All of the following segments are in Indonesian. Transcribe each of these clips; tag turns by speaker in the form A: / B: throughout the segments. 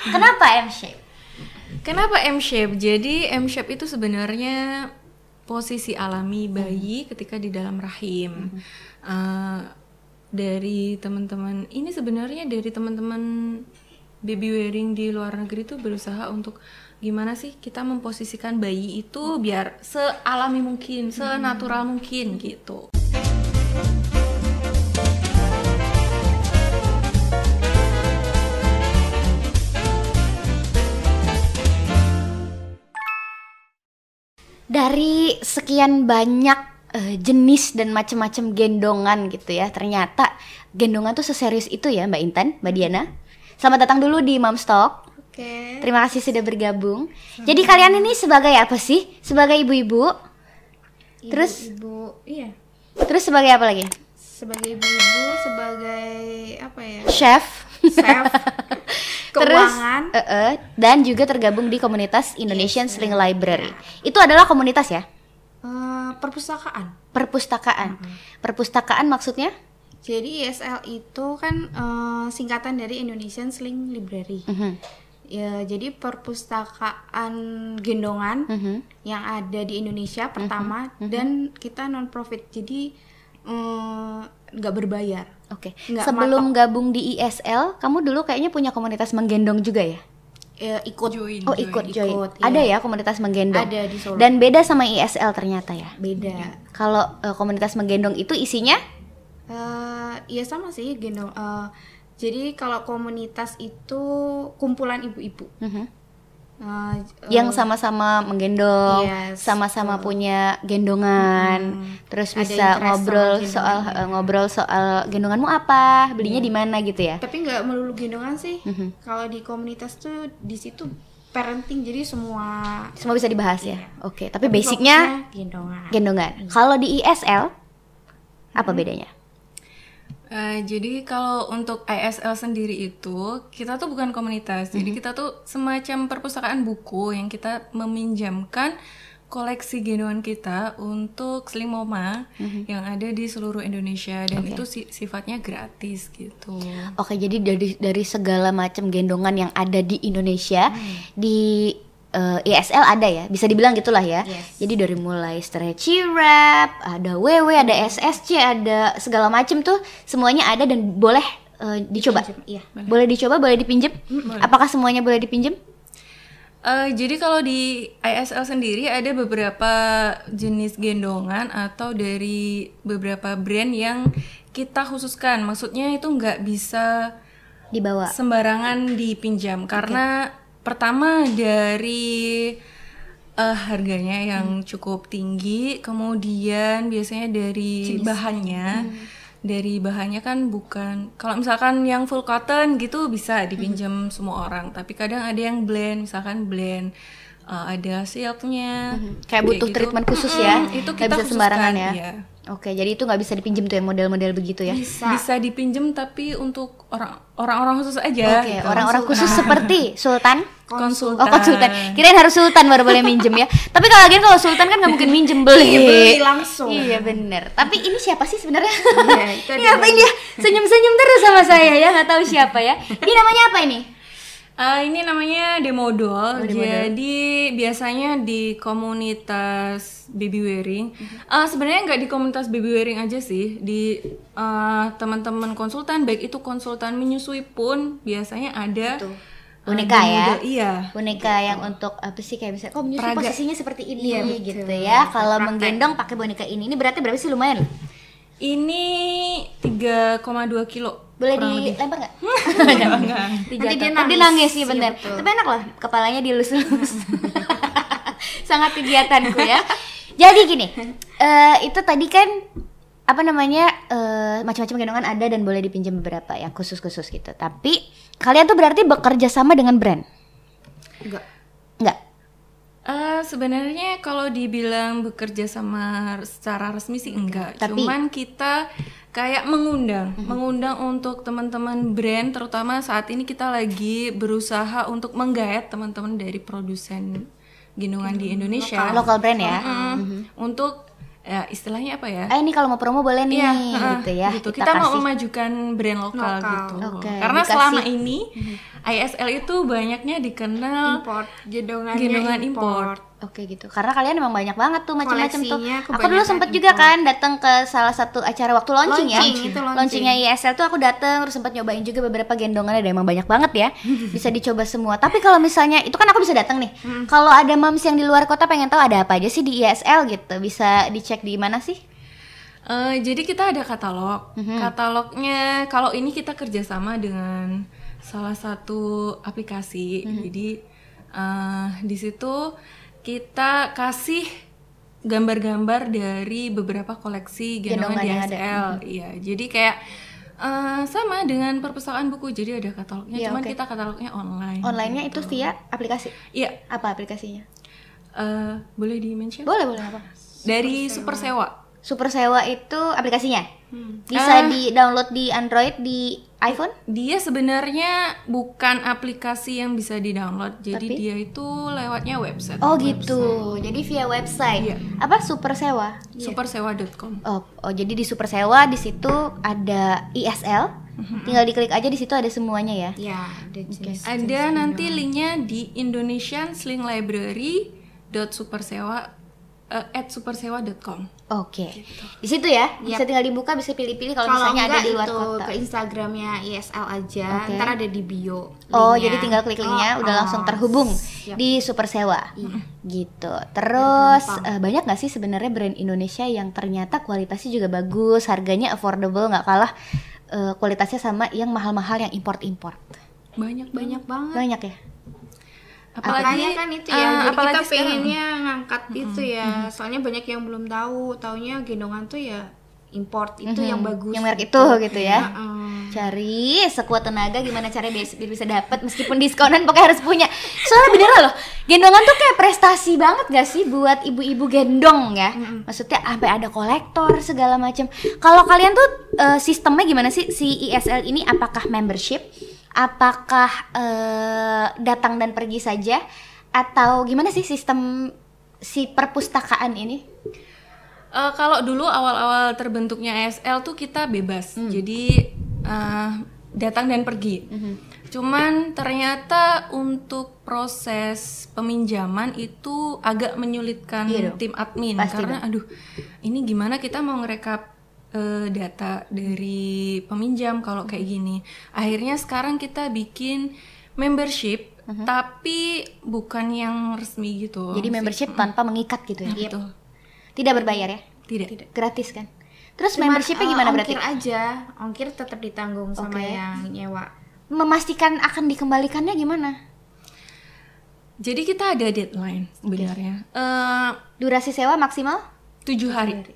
A: Kenapa M shape?
B: Kenapa M shape? Jadi M shape itu sebenarnya posisi alami bayi ketika di dalam rahim. Eh, dari teman-teman ini sebenarnya dari teman-teman baby wearing di luar negeri itu berusaha untuk gimana sih kita memposisikan bayi itu biar sealami mungkin, senatural mungkin gitu.
A: Dari sekian banyak eh, jenis dan macam-macam gendongan gitu ya, ternyata gendongan tuh seserius itu ya Mbak Intan, Mbak Diana. Selamat datang dulu di Momstock.
C: Oke.
A: Terima kasih sudah bergabung. Jadi kalian ini sebagai apa sih? Sebagai ibu-ibu, Terus?
C: ibu iya.
A: terus sebagai apa lagi?
C: Sebagai ibu-ibu, sebagai apa ya?
A: Chef.
C: Chef.
A: Terus,
C: Keuangan.
A: eh, eh, dan juga tergabung di komunitas Indonesian Sling Library. Itu adalah komunitas ya,
C: Eh, perpustakaan.
A: perpustakaan. Perpustakaan maksudnya?
C: Jadi ISL itu kan eh, singkatan dari Indonesian Sling Library.
A: Mhm,
C: Ya, jadi perpustakaan gendongan
A: mhm.
C: yang ada di Indonesia
A: Hmm,
C: pertama dan kita non profit. Jadi eh, nggak berbayar.
A: Oke.
C: Nggak
A: Sebelum gabung di ISL, kamu dulu kayaknya punya komunitas menggendong juga ya?
C: Ya, ikut
B: Join,
A: Oh ikut join.
C: Ikut,
A: Ada ya
C: iya.
A: komunitas menggendong.
C: Ada di Solo.
A: Dan beda sama ISL ternyata ya.
C: beda.
A: Kalau eh, komunitas menggendong itu isinya?
C: eh ya sama sih gendong. Eh, jadi kalau komunitas itu kumpulan ibu-ibu.
A: Mhm.
C: Eh, j-
A: yang
C: eh,
A: sama-sama menggendong,
C: Yes,
A: sama-sama punya gendongan,
C: Iya, Mm-mm.
A: terus
C: Ada
A: bisa
C: interest
A: ngobrol
C: sama
A: soal
C: gendongan. Iya.
A: eh, ngobrol soal gendonganmu apa, belinya di mana gitu ya.
C: eh, tapi nggak melulu gendongan sih.
A: Mhm.
C: Kalau di komunitas tuh di situ parenting jadi semua
A: Semua bisa dibahas ya. Oke, tapi
C: Iya. Tapi
A: basicnya
C: fokusnya gendongan.
A: gendongan. Kalau di ISL apa bedanya?
B: Eh, jadi kalau untuk ISL sendiri itu kita tuh bukan komunitas, jadi kita tuh semacam perpustakaan buku yang kita meminjamkan koleksi gendongan kita untuk Slimoma yang ada di seluruh Indonesia dan itu si- sifatnya gratis gitu.
A: Oke, jadi dari dari segala macam gendongan yang ada di Indonesia di eh, ISL ada ya, bisa dibilang gitulah ya.
C: Yes.
A: Jadi dari mulai stretchy wrap, ada WW, ada SSC, ada segala macam tuh semuanya ada dan boleh eh, dicoba.
C: Pinjam, Iya.
A: Boleh dicoba, boleh dipinjem. Apakah semuanya boleh dipinjem?
B: Eh, jadi kalau di ISL sendiri ada beberapa jenis gendongan atau dari beberapa brand yang kita khususkan, maksudnya itu nggak bisa
A: Dibawa.
B: sembarangan dipinjam karena pertama dari eh, harganya
A: Hmm.
B: yang cukup tinggi kemudian biasanya dari bahannya
A: Hmm.
B: dari bahannya kan bukan kalau misalkan yang full cotton
A: Hmm.
B: gitu bisa dipinjam semua orang tapi kadang ada yang blend misalkan blend eh, ada silknya
A: Hmm. Kayak butuh
B: gitu.
A: treatment khusus ya.
B: Mm-mm, itu
A: Nggak
B: kita
A: bisa sembarangan ya.
B: khususkan, iya.
A: Oke, jadi itu nggak bisa dipinjem tuh yang model-model begitu
C: Iya.
A: ya.
B: bisa dipinjam tapi untuk orang orang-orang khusus aja
A: Oke,
B: gitu.
A: orang-orang khusus seperti Sultan
B: konsultan
A: Oh konsultan, kirain harus sultan baru boleh minjem ya. Tapi kalau lagian kalau sultan kan nggak mungkin minjem beli.
C: Iya, beli langsung.
A: Iya bener. Tapi ini siapa sih sebenarnya?
C: Iya, itu
A: ini
C: ada
A: ngapain dia senyum-senyum terus sama saya ya? Nggak tahu siapa ya. Ini namanya apa ini?
B: Eh, ini namanya
A: Oh,
B: demodol. Jadi biasanya di komunitas baby wearing.
A: Mm-hmm.
B: Eh, Sebenarnya nggak di komunitas baby wearing aja sih. Di eh, teman-teman konsultan, baik itu konsultan menyusui pun biasanya ada eh,
A: Gitu. Boneka ya?
B: demodol. Iya.
A: Boneka yang untuk apa sih kayak misalnya, kok menyusun
B: Peraga.
A: posisinya seperti ini
C: Iya,
A: gitu
C: betul.
A: ya. Kalau
C: Praktek.
A: menggendong pakai boneka ini, ini beratnya berapa sih lumayan?
B: Ini 3,2 kilo.
A: Boleh
B: kurang lebih.
A: dilempar nggak?
B: Nggak.
A: Tiga
C: Nanti dia
A: atau-
C: nangis.
A: sih
C: Iya,
A: bener
C: betul.
A: Tapi enak loh kepalanya dilus-lus Sangat kegiatanku ya Jadi gini eh, Itu tadi kan apa namanya eh, macam-macam gendongan ada dan boleh dipinjam beberapa yang khusus-khusus gitu. Tapi kalian tuh berarti bekerja sama dengan brand,
C: Nggak.
A: enggak?
B: Eh, sebenarnya kalau dibilang bekerja sama secara resmi sih enggak,
A: Tapi-
B: cuman kita kayak mengundang, mengundang untuk teman-teman brand terutama saat ini kita lagi berusaha untuk menggaet teman-teman dari produsen gendongan di Indonesia.
A: Lokal brand ya.
B: Mm, Untuk ya, istilahnya apa ya?
A: Eh ini kalau mau promo boleh nih
B: Iya, heeh,
A: gitu ya.
B: gitu. Kita, mau
A: kasih.
B: memajukan brand lokal,
C: Lokal.
B: gitu.
A: Oke,
B: Karena
A: dikasih- Mm-hmm.
B: selama ini ISL itu banyaknya dikenal
C: import gendongannya
B: gendongan import.
A: Oke gitu. Karena kalian emang banyak banget tuh macam-macam tuh.
C: Koleksinya
A: Aku dulu
C: kebanyakan
A: sempet juga
C: impor.
A: kan datang ke salah satu acara waktu launching, ya.
C: Launching, itu launching.
A: Launchingnya ISL tuh aku datang terus sempet nyobain juga beberapa gendongan ada emang banyak banget ya. Bisa dicoba semua. Tapi kalau misalnya itu kan aku bisa datang nih.
C: Hmm.
A: Kalau ada moms yang di luar kota pengen tahu ada apa aja sih di ISL gitu, bisa dicek di mana sih?
B: Eh, jadi kita ada katalog.
A: Mm-hmm.
B: Katalognya kalau ini kita kerjasama dengan salah satu aplikasi.
A: Mm-hmm.
B: Jadi eh, di situ kita kasih gambar-gambar dari beberapa koleksi
A: Gendongan
B: gendongan di
A: yang ada. Mm-hmm.
B: ASL. Iya, jadi kayak eh, sama dengan perpustakaan buku. Jadi ada katalognya,
A: Iya,
B: cuman
A: oke.
B: kita katalognya online.
A: Online-nya itu via aplikasi.
B: Iya,
A: Apa aplikasinya?
B: eh, boleh di mention?
A: Boleh, boleh apa?
B: Dari Super Sewa.
A: Super Sewa itu aplikasinya.
C: Hmm. Ah.
A: Bisa di-download di Android, di iPhone?
B: Dia sebenarnya bukan aplikasi yang bisa di-download. Jadi
A: Tapi?
B: dia itu lewatnya website.
A: Oh gitu. Jadi via website.
B: Iya.
A: Apa super sewa?
C: iya.
B: Supersewa.com.
A: Oh, oh jadi di super sewa di situ ada ISL.
C: Mhm.
A: Tinggal diklik aja di situ ada semuanya ya.
C: ya udah jelas
A: Eh,
B: Ada nanti linknya di Indonesian Sling Library supersewa eh, at supersewa.com.
A: Oke. Di situ ya. Bisa tinggal dibuka, bisa pilih-pilih kalau misalnya ada
C: Gitu. enggak
A: di luar
C: itu
A: kota.
C: ke Instagramnya ISL aja
A: Oke.
C: ntar ada di bio
A: Oh,
C: linknya.
A: jadi tinggal klik linknya
C: Oh,
A: udah
C: oh, Iya.
A: langsung terhubung
C: siap.
A: di super sewa. Gitu.
C: Iya,
A: Terus eh, banyak nggak sih sebenarnya brand Indonesia yang ternyata kualitasnya juga bagus, harganya affordable nggak kalah eh, kualitasnya sama yang mahal-mahal yang import-import.
B: Banyak-banyak.
C: banyak banget
A: Banyak ya?
C: Makanya kan itu ya,
B: eh,
C: jadi
B: apalagi
C: kita
B: sekarang.
C: pengennya ngangkat itu ya. Soalnya banyak yang belum tahu, taunya gendongan tuh ya import itu yang bagus.
A: Mm-hmm.
C: Iya,
A: yang merek
C: ah.
A: itu gitu ya
C: Heeh.
A: cari sekuat tenaga gimana caranya biar, biar bisa dapat meskipun diskonan pokoknya harus punya soalnya beneran loh gendongan tuh kayak prestasi banget gak sih buat ibu-ibu gendong ya maksudnya sampai ada kolektor segala macam kalau kalian tuh eh, sistemnya gimana sih si ISL ini apakah membership apakah eh, datang dan pergi saja atau gimana sih sistem si perpustakaan ini
B: Eh, kalau dulu awal-awal terbentuknya ASL tuh kita bebas,
A: Hmm.
B: jadi eh, datang dan pergi.
A: Mm-hmm.
B: Cuman ternyata untuk proses peminjaman itu agak menyulitkan
A: Iya dong.
B: tim admin
A: Pasti
B: karena aduh ini gimana kita mau ngerekap eh, data dari peminjam kalau kayak gini. Akhirnya sekarang kita bikin membership tapi bukan yang resmi gitu.
A: Mm-hmm.
B: Nah,
A: jadi membership tanpa mengikat gitu
C: Nah,
A: ya
B: Betul.
A: tidak berbayar ya
B: Tidak.
A: gratis kan terus
C: Cuman,
A: membershipnya gimana
C: eh,
A: berarti
C: Ongkir aja, ongkir tetap ditanggung sama
A: Oke.
C: yang nyewa.
A: memastikan akan dikembalikannya gimana
B: Jadi kita ada deadline sebenarnya. Eh,
A: durasi sewa maksimal
B: Tujuh hari.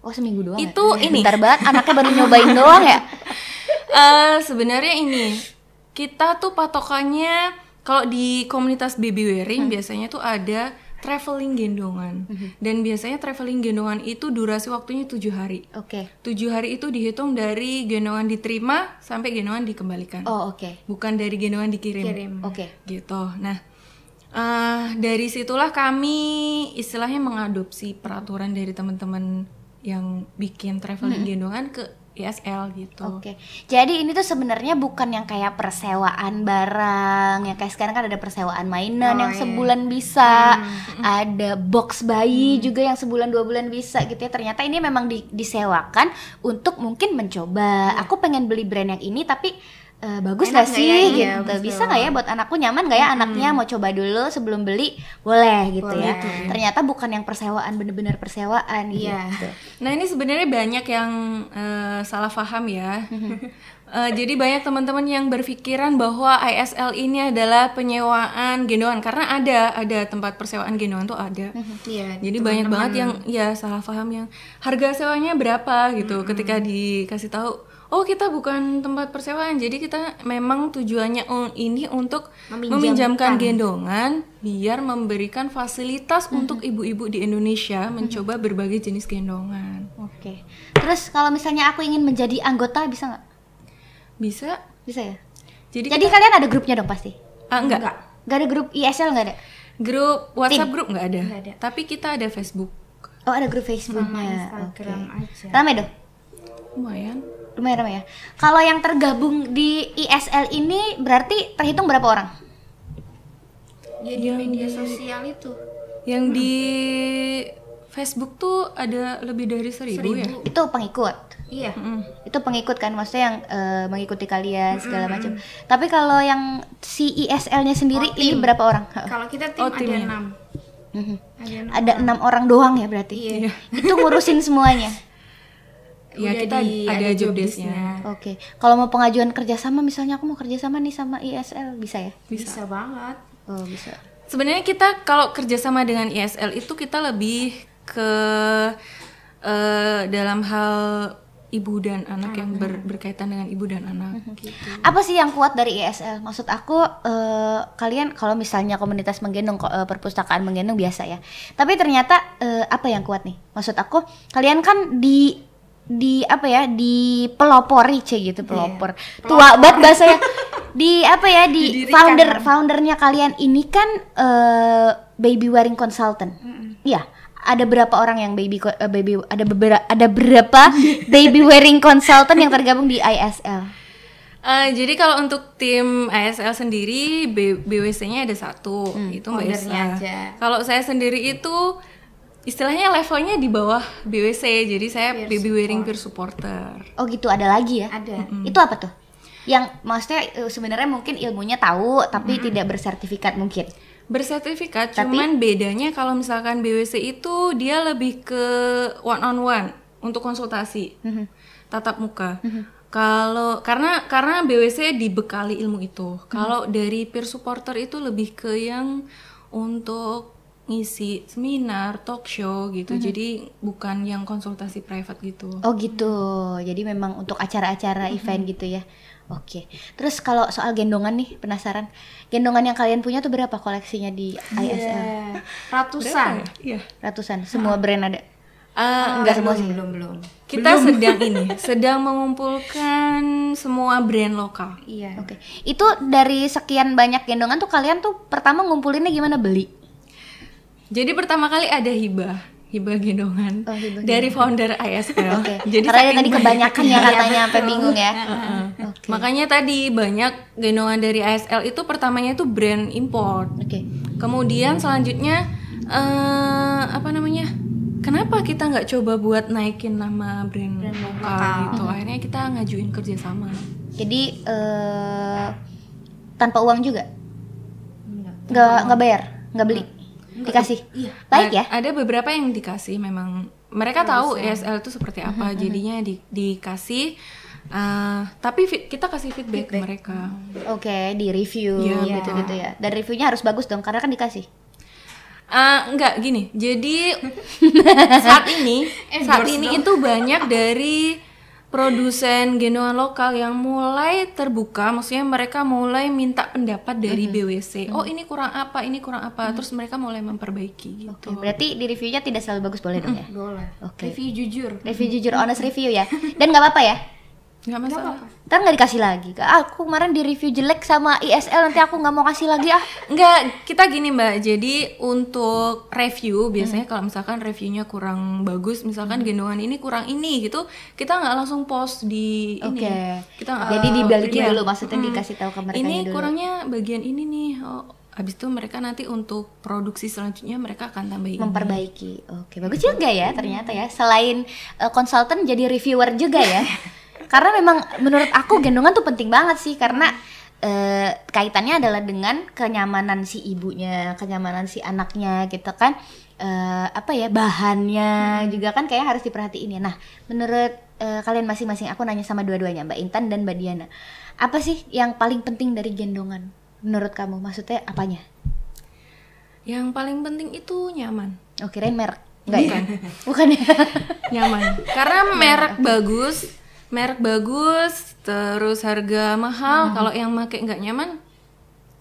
A: oh seminggu doang ya?
B: Itu ini.
A: bentar banget anaknya baru nyobain doang ya
B: Eh, sebenarnya ini kita tuh patokannya kalau di komunitas baby wearing biasanya tuh ada traveling gendongan dan biasanya traveling gendongan itu durasi waktunya tujuh hari.
A: oke
B: Tujuh hari itu dihitung dari gendongan diterima sampai gendongan dikembalikan,
A: oh oke
B: bukan dari gendongan dikirim.
C: Kirim.
A: oke
B: gitu. Nah, eh, dari situlah kami istilahnya mengadopsi peraturan dari teman-teman yang bikin traveling gendongan ke ISL gitu.
A: Oke, jadi ini tuh sebenarnya bukan yang kayak persewaan barang, yang kayak sekarang kan ada persewaan mainan
C: Oh,
A: yang
C: iya.
A: sebulan bisa,
C: Hmm.
A: ada box bayi juga yang sebulan dua bulan bisa gitu ya. Ternyata ini memang di- disewakan untuk mungkin mencoba. Aku pengen beli brand yang ini tapi eh, bagus
C: Iya. Enak
A: gak
C: nggak
A: sih
C: ya? Iya,
A: gitu,
C: betul. Hmm.
A: bisa nggak ya buat anakku nyaman nggak ya anaknya mau coba dulu sebelum beli boleh gitu
C: Boleh.
A: ya. Ternyata bukan yang persewaan bener-bener persewaan
C: Iya.
A: gitu.
B: Nah, ini sebenarnya banyak yang eh, salah paham ya.
A: Mm-hmm.
B: Eh, jadi banyak teman-teman yang berpikiran bahwa ISL ini adalah penyewaan gendongan karena ada ada tempat persewaan gendongan tuh ada.
A: Mm-hmm.
C: Iya.
B: Jadi banyak banget yang ya salah paham yang harga sewanya berapa gitu ketika dikasih tahu oh kita bukan tempat persewaan jadi kita memang tujuannya un- ini untuk meminjamkan gendongan biar memberikan fasilitas untuk ibu-ibu di Indonesia mencoba berbagai jenis gendongan
A: Oke, terus kalau misalnya aku ingin menjadi anggota bisa nggak?
B: bisa
A: Bisa ya?
B: jadi,
A: Jadi kalian ada grupnya dong pasti?
B: ah, enggak.
A: Gak ada grup ISL nggak ada?
B: grup WhatsApp grup nggak ada.
C: Nggak ada.
B: tapi kita ada Facebook
A: Oh ada grup Facebooknya.
C: Instagram
A: Oke.
C: aja.
A: Rame dong.
B: lumayan
A: lumayan ramai ya. Kalau yang tergabung di ISL ini berarti terhitung berapa orang?
C: Ya,
B: Iya,
C: di media sosial itu
B: Yang di Facebook tuh ada lebih dari seribu, ya?
C: seribu.
A: Itu pengikut.
C: Iya.
B: Mm.
A: itu pengikut kan maksudnya yang eh, mengikuti kalian segala macam. Tapi kalau yang si ISL-nya sendiri
C: Oh,
A: ini
C: tim.
A: berapa orang? Heeh.
C: Kalau kita tim
B: Oh,
C: ada
B: timnya.
C: enam.
A: Mhm.
C: Ada enam.
A: Ada enam orang doang ya berarti.
C: Iya.
A: Itu ngurusin semuanya.
B: Ya,
C: Udah
B: kita
C: di-
B: ada job
C: desk-nya.
B: desk-nya.
A: Oke. Kalau mau pengajuan kerjasama misalnya aku mau kerjasama nih sama ISL bisa ya?
C: Bisa. banget.
A: Oh bisa.
B: Sebenarnya kita kalau kerjasama dengan ISL itu kita lebih ke eh, dalam hal ibu dan anak yang ber- berkaitan dengan ibu dan anak.
A: Mhm. Gitu. Apa sih yang kuat dari ISL? Maksud aku eh, kalian kalau misalnya komunitas menggendong ko- eh, perpustakaan menggendong biasa ya. Tapi ternyata eh, apa yang kuat nih? Maksud aku kalian kan di di apa ya di pelopori c gitu pelopor tua banget bahasanya di apa ya di
C: Didirikan.
A: founder foundernya kalian ini kan eh, baby wearing consultant iya ada berapa orang yang baby co- eh, baby ada beberapa ada berapa baby wearing consultant yang tergabung di ISL
B: Eh, jadi kalau untuk tim ASL sendiri B- BWC-nya ada satu itu Mbak
C: Ownernya
B: Esa.
C: aja.
B: Kalau saya sendiri itu istilahnya levelnya di bawah BWC. Jadi saya
C: Peer
B: baby wearing peer supporter.
A: Oh gitu ada lagi ya?
C: Ada.
A: Itu apa tuh? Yang maksudnya eh, sebenarnya mungkin ilmunya tahu tapi tidak bersertifikat mungkin.
B: Bersertifikat,
A: Tapi-
B: cuman bedanya kalau misalkan BWC itu dia lebih ke one on one untuk konsultasi tatap muka. Kalau karena karena BWC dibekali ilmu itu. Kalau dari peer supporter itu lebih ke yang untuk ngisi seminar, talk show gitu. Jadi bukan yang konsultasi private gitu.
A: Oh gitu. Jadi memang untuk acara-acara event gitu ya. Oke. Terus kalau soal gendongan nih penasaran. Gendongan yang kalian punya tuh berapa koleksinya di ISL?
C: Iya. Ratusan.
B: Iya.
A: Ratusan. Semua brand ada.
B: Eh,
C: Enggak belum, belum belum.
B: kita sedang ini sedang mengumpulkan semua brand lokal.
C: Iya.
A: Oke. Itu dari sekian banyak gendongan tuh kalian tuh pertama ngumpulinnya gimana beli?
B: Jadi pertama kali ada hibah, hibah gendongan
A: Oh, hibah
B: dari founder ISL.
A: Oke.
B: Oh. Jadi
A: Karena dia
B: saking
A: tadi
B: banyak-
A: kebanyakan ya katanya sampai bingung ya. Oke.
B: Makanya tadi banyak gendongan dari ISL itu pertamanya itu brand import.
A: Oke.
B: Kemudian selanjutnya eh apa namanya? Kenapa kita nggak coba buat naikin nama brand,
C: Brand
B: lokal,
C: lokal.
B: gitu? Akhirnya kita ngajuin kerjasama.
A: Jadi eh tanpa uang juga?
C: Enggak.
A: nggak nggak bayar nggak beli dikasih baik ya
B: Nah, Ada beberapa yang dikasih memang mereka tahu ESL itu seperti apa, jadinya di- dikasih. eh, tapi fi- kita kasih feedback, ke mereka.
A: oke di review
B: Iya,
A: gitu gitu ya dan reviewnya harus bagus dong karena kan dikasih
B: Eh, enggak gini. Jadi saat ini saat
C: Endorse
B: ini itu banyak dari produsen genuan lokal yang mulai terbuka, maksudnya mereka mulai minta pendapat dari BWC. Oh, ini kurang apa? Ini kurang apa? Terus mereka mulai memperbaiki gitu.
A: oke berarti di reviewnya tidak selalu bagus boleh dong ya
C: Boleh.
A: Oke.
C: Review jujur.
A: review jujur honest review ya dan nggak apa-apa ya
B: Enggak masalah.
A: ntar nggak dikasih lagi ah, aku kemarin di review jelek sama ISL nanti aku nggak mau kasih lagi ah
B: Enggak, kita gini Mbak. Jadi untuk review biasanya
A: Hmm.
B: kalau misalkan reviewnya kurang bagus, misalkan gendongan ini kurang ini gitu, kita nggak langsung post di ini.
A: oke
B: Kita nggak-
A: jadi dibalikin
B: Iya.
A: dulu maksudnya dikasih tahu ke mereka
B: Ini
A: dulu
B: kurangnya bagian ini nih. Oh, habis itu mereka nanti untuk produksi selanjutnya mereka akan tambahin.
A: memperbaiki oke bagus juga ya ternyata ya selain eh, konsultan jadi reviewer juga ya karena memang menurut aku gendongan tuh penting banget sih karena eh, kaitannya adalah dengan kenyamanan si ibunya kenyamanan si anaknya gitu kan Eh, apa ya bahannya juga kan kayak harus diperhatiin ya nah menurut eh, kalian masing-masing aku nanya sama dua-duanya mbak Intan dan mbak Diana apa sih yang paling penting dari gendongan menurut kamu maksudnya apanya
B: Yang paling penting itu nyaman.
A: Oh kirain merek Enggak ya? Bukan ya?
B: Nyaman. Karena merek bagus, merek bagus, terus harga
A: Hmm.
B: mahal. Kalau yang make nggak nyaman,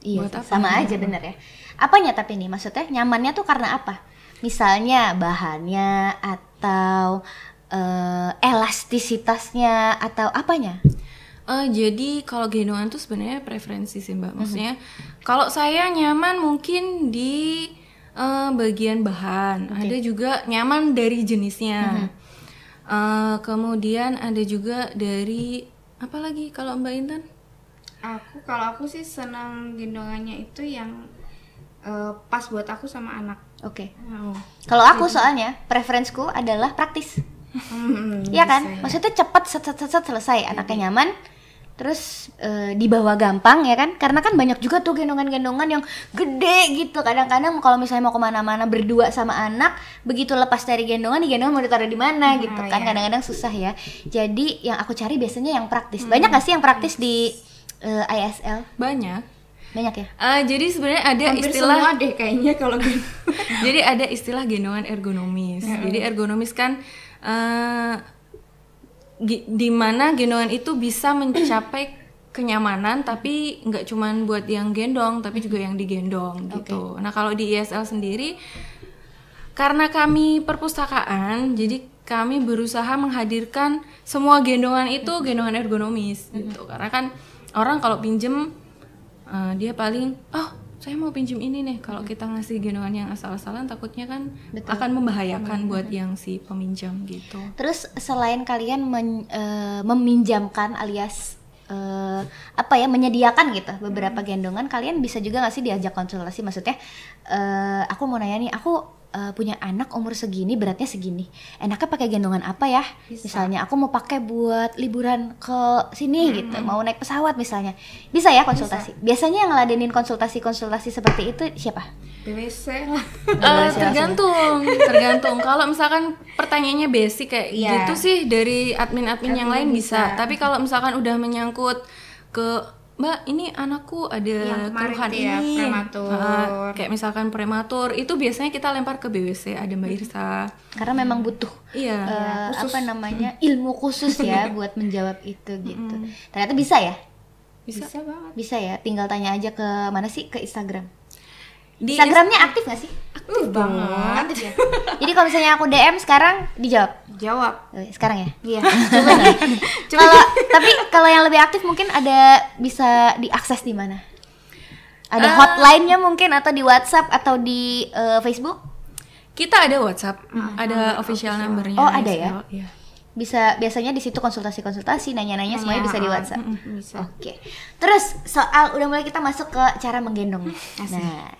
A: iya,
B: Buat apa?
A: sama aja bener ya Apanya tapi nih maksudnya nyamannya tuh karena apa? Misalnya bahannya atau eh, elastisitasnya atau apanya?
B: Eh, jadi kalau gendongan tuh sebenarnya preferensi sih
C: Mhm.
B: mbak. Maksudnya kalau saya nyaman mungkin di
C: Mhm.
B: eh, bagian bahan. Ada juga nyaman dari jenisnya. Eh Eh, kemudian ada juga dari apa lagi kalau Mbak Intan?
C: Aku kalau aku sih senang gendongannya itu yang eh, pas buat aku sama anak. Oh.
A: Oke.
C: Wow.
A: Kalau aku soalnya preferensku adalah praktis.
C: Hmm,
A: Iya kan?
C: ya.
A: Maksudnya cepat set set set, set, selesai, anaknya nyaman. Terus eh, dibawa gampang ya kan? Karena kan banyak juga tuh gendongan-gendongan yang gede gitu. Kadang-kadang kalau misalnya mau kemana-mana berdua sama anak, begitu lepas dari gendongan, di gendongan mau ditaruh di mana gitu kan? Kadang-kadang susah ya. Jadi yang aku cari biasanya yang praktis. Banyak gak sih yang praktis di eh, ISL?
B: Banyak.
A: Banyak ya?
B: Eh, jadi sebenarnya ada
C: Hampir
B: istilah
C: semua deh kayaknya kalau gendong.
B: Jadi ada istilah gendongan ergonomis. Jadi ergonomis kan eh, gi- di mana gendongan itu bisa mencapai kenyamanan tapi nggak cuman buat yang gendong tapi juga yang digendong gitu. Nah, kalau di ISL sendiri karena kami perpustakaan, jadi kami berusaha menghadirkan semua gendongan itu gendongan ergonomis gitu. Karena kan orang kalau pinjem eh, dia paling oh saya mau pinjem ini nih. Kalau kita ngasih gendongan yang asal-asalan takutnya kan akan membahayakan buat yang si peminjam gitu.
A: Terus selain kalian men- eh, meminjamkan alias eh, apa ya menyediakan gitu beberapa gendongan, kalian bisa juga nggak sih diajak konsultasi? Maksudnya eh, aku mau nanya nih, aku eh, punya anak umur segini beratnya segini, enaknya pakai gendongan apa ya? Misalnya aku mau pakai buat liburan ke sini gitu, mau naik pesawat misalnya, bisa ya konsultasi? Biasanya yang ngeladenin konsultasi-konsultasi seperti itu siapa?
C: BWC lah.
B: Eh, tergantung, tergantung. Kalau misalkan pertanyaannya basic kayak
C: Iya.
B: gitu sih dari admin-admin yang lain bisa. Tapi kalau misalkan udah menyangkut ke Mbak, ini anakku ada
C: Yang kemarin
B: keluhan
C: tuh ya,
B: ini.
C: prematur.
B: Ah, kayak misalkan prematur, itu biasanya kita lempar ke BWC ada Mbak Irsa.
A: Karena memang butuh
B: Iya.
A: eh, apa namanya ilmu khusus ya buat menjawab itu gitu. Ternyata bisa ya,
C: Bisa. banget.
A: bisa ya. Tinggal tanya aja ke mana sih ke Instagram.
B: Di
A: Instagramnya aktif nggak sih?
C: Aktif banget.
A: Aktif ya. Jadi kalau misalnya aku DM sekarang dijawab.
C: Jawab.
A: Eh, Sekarang ya.
C: Iya.
A: Kalau tapi kalau yang lebih aktif mungkin ada bisa diakses di mana? Ada
B: Eh.
A: hotline-nya mungkin atau di WhatsApp atau di eh, Facebook?
B: kita ada WhatsApp, ada official numbernya.
A: Oh, ada ya?
B: SL, Iya.
A: Bisa biasanya di situ konsultasi-konsultasi, nanya-nanya semuanya bisa di WhatsApp.
C: Bisa.
A: Oke, terus soal udah mulai kita masuk ke cara menggendong. Nah,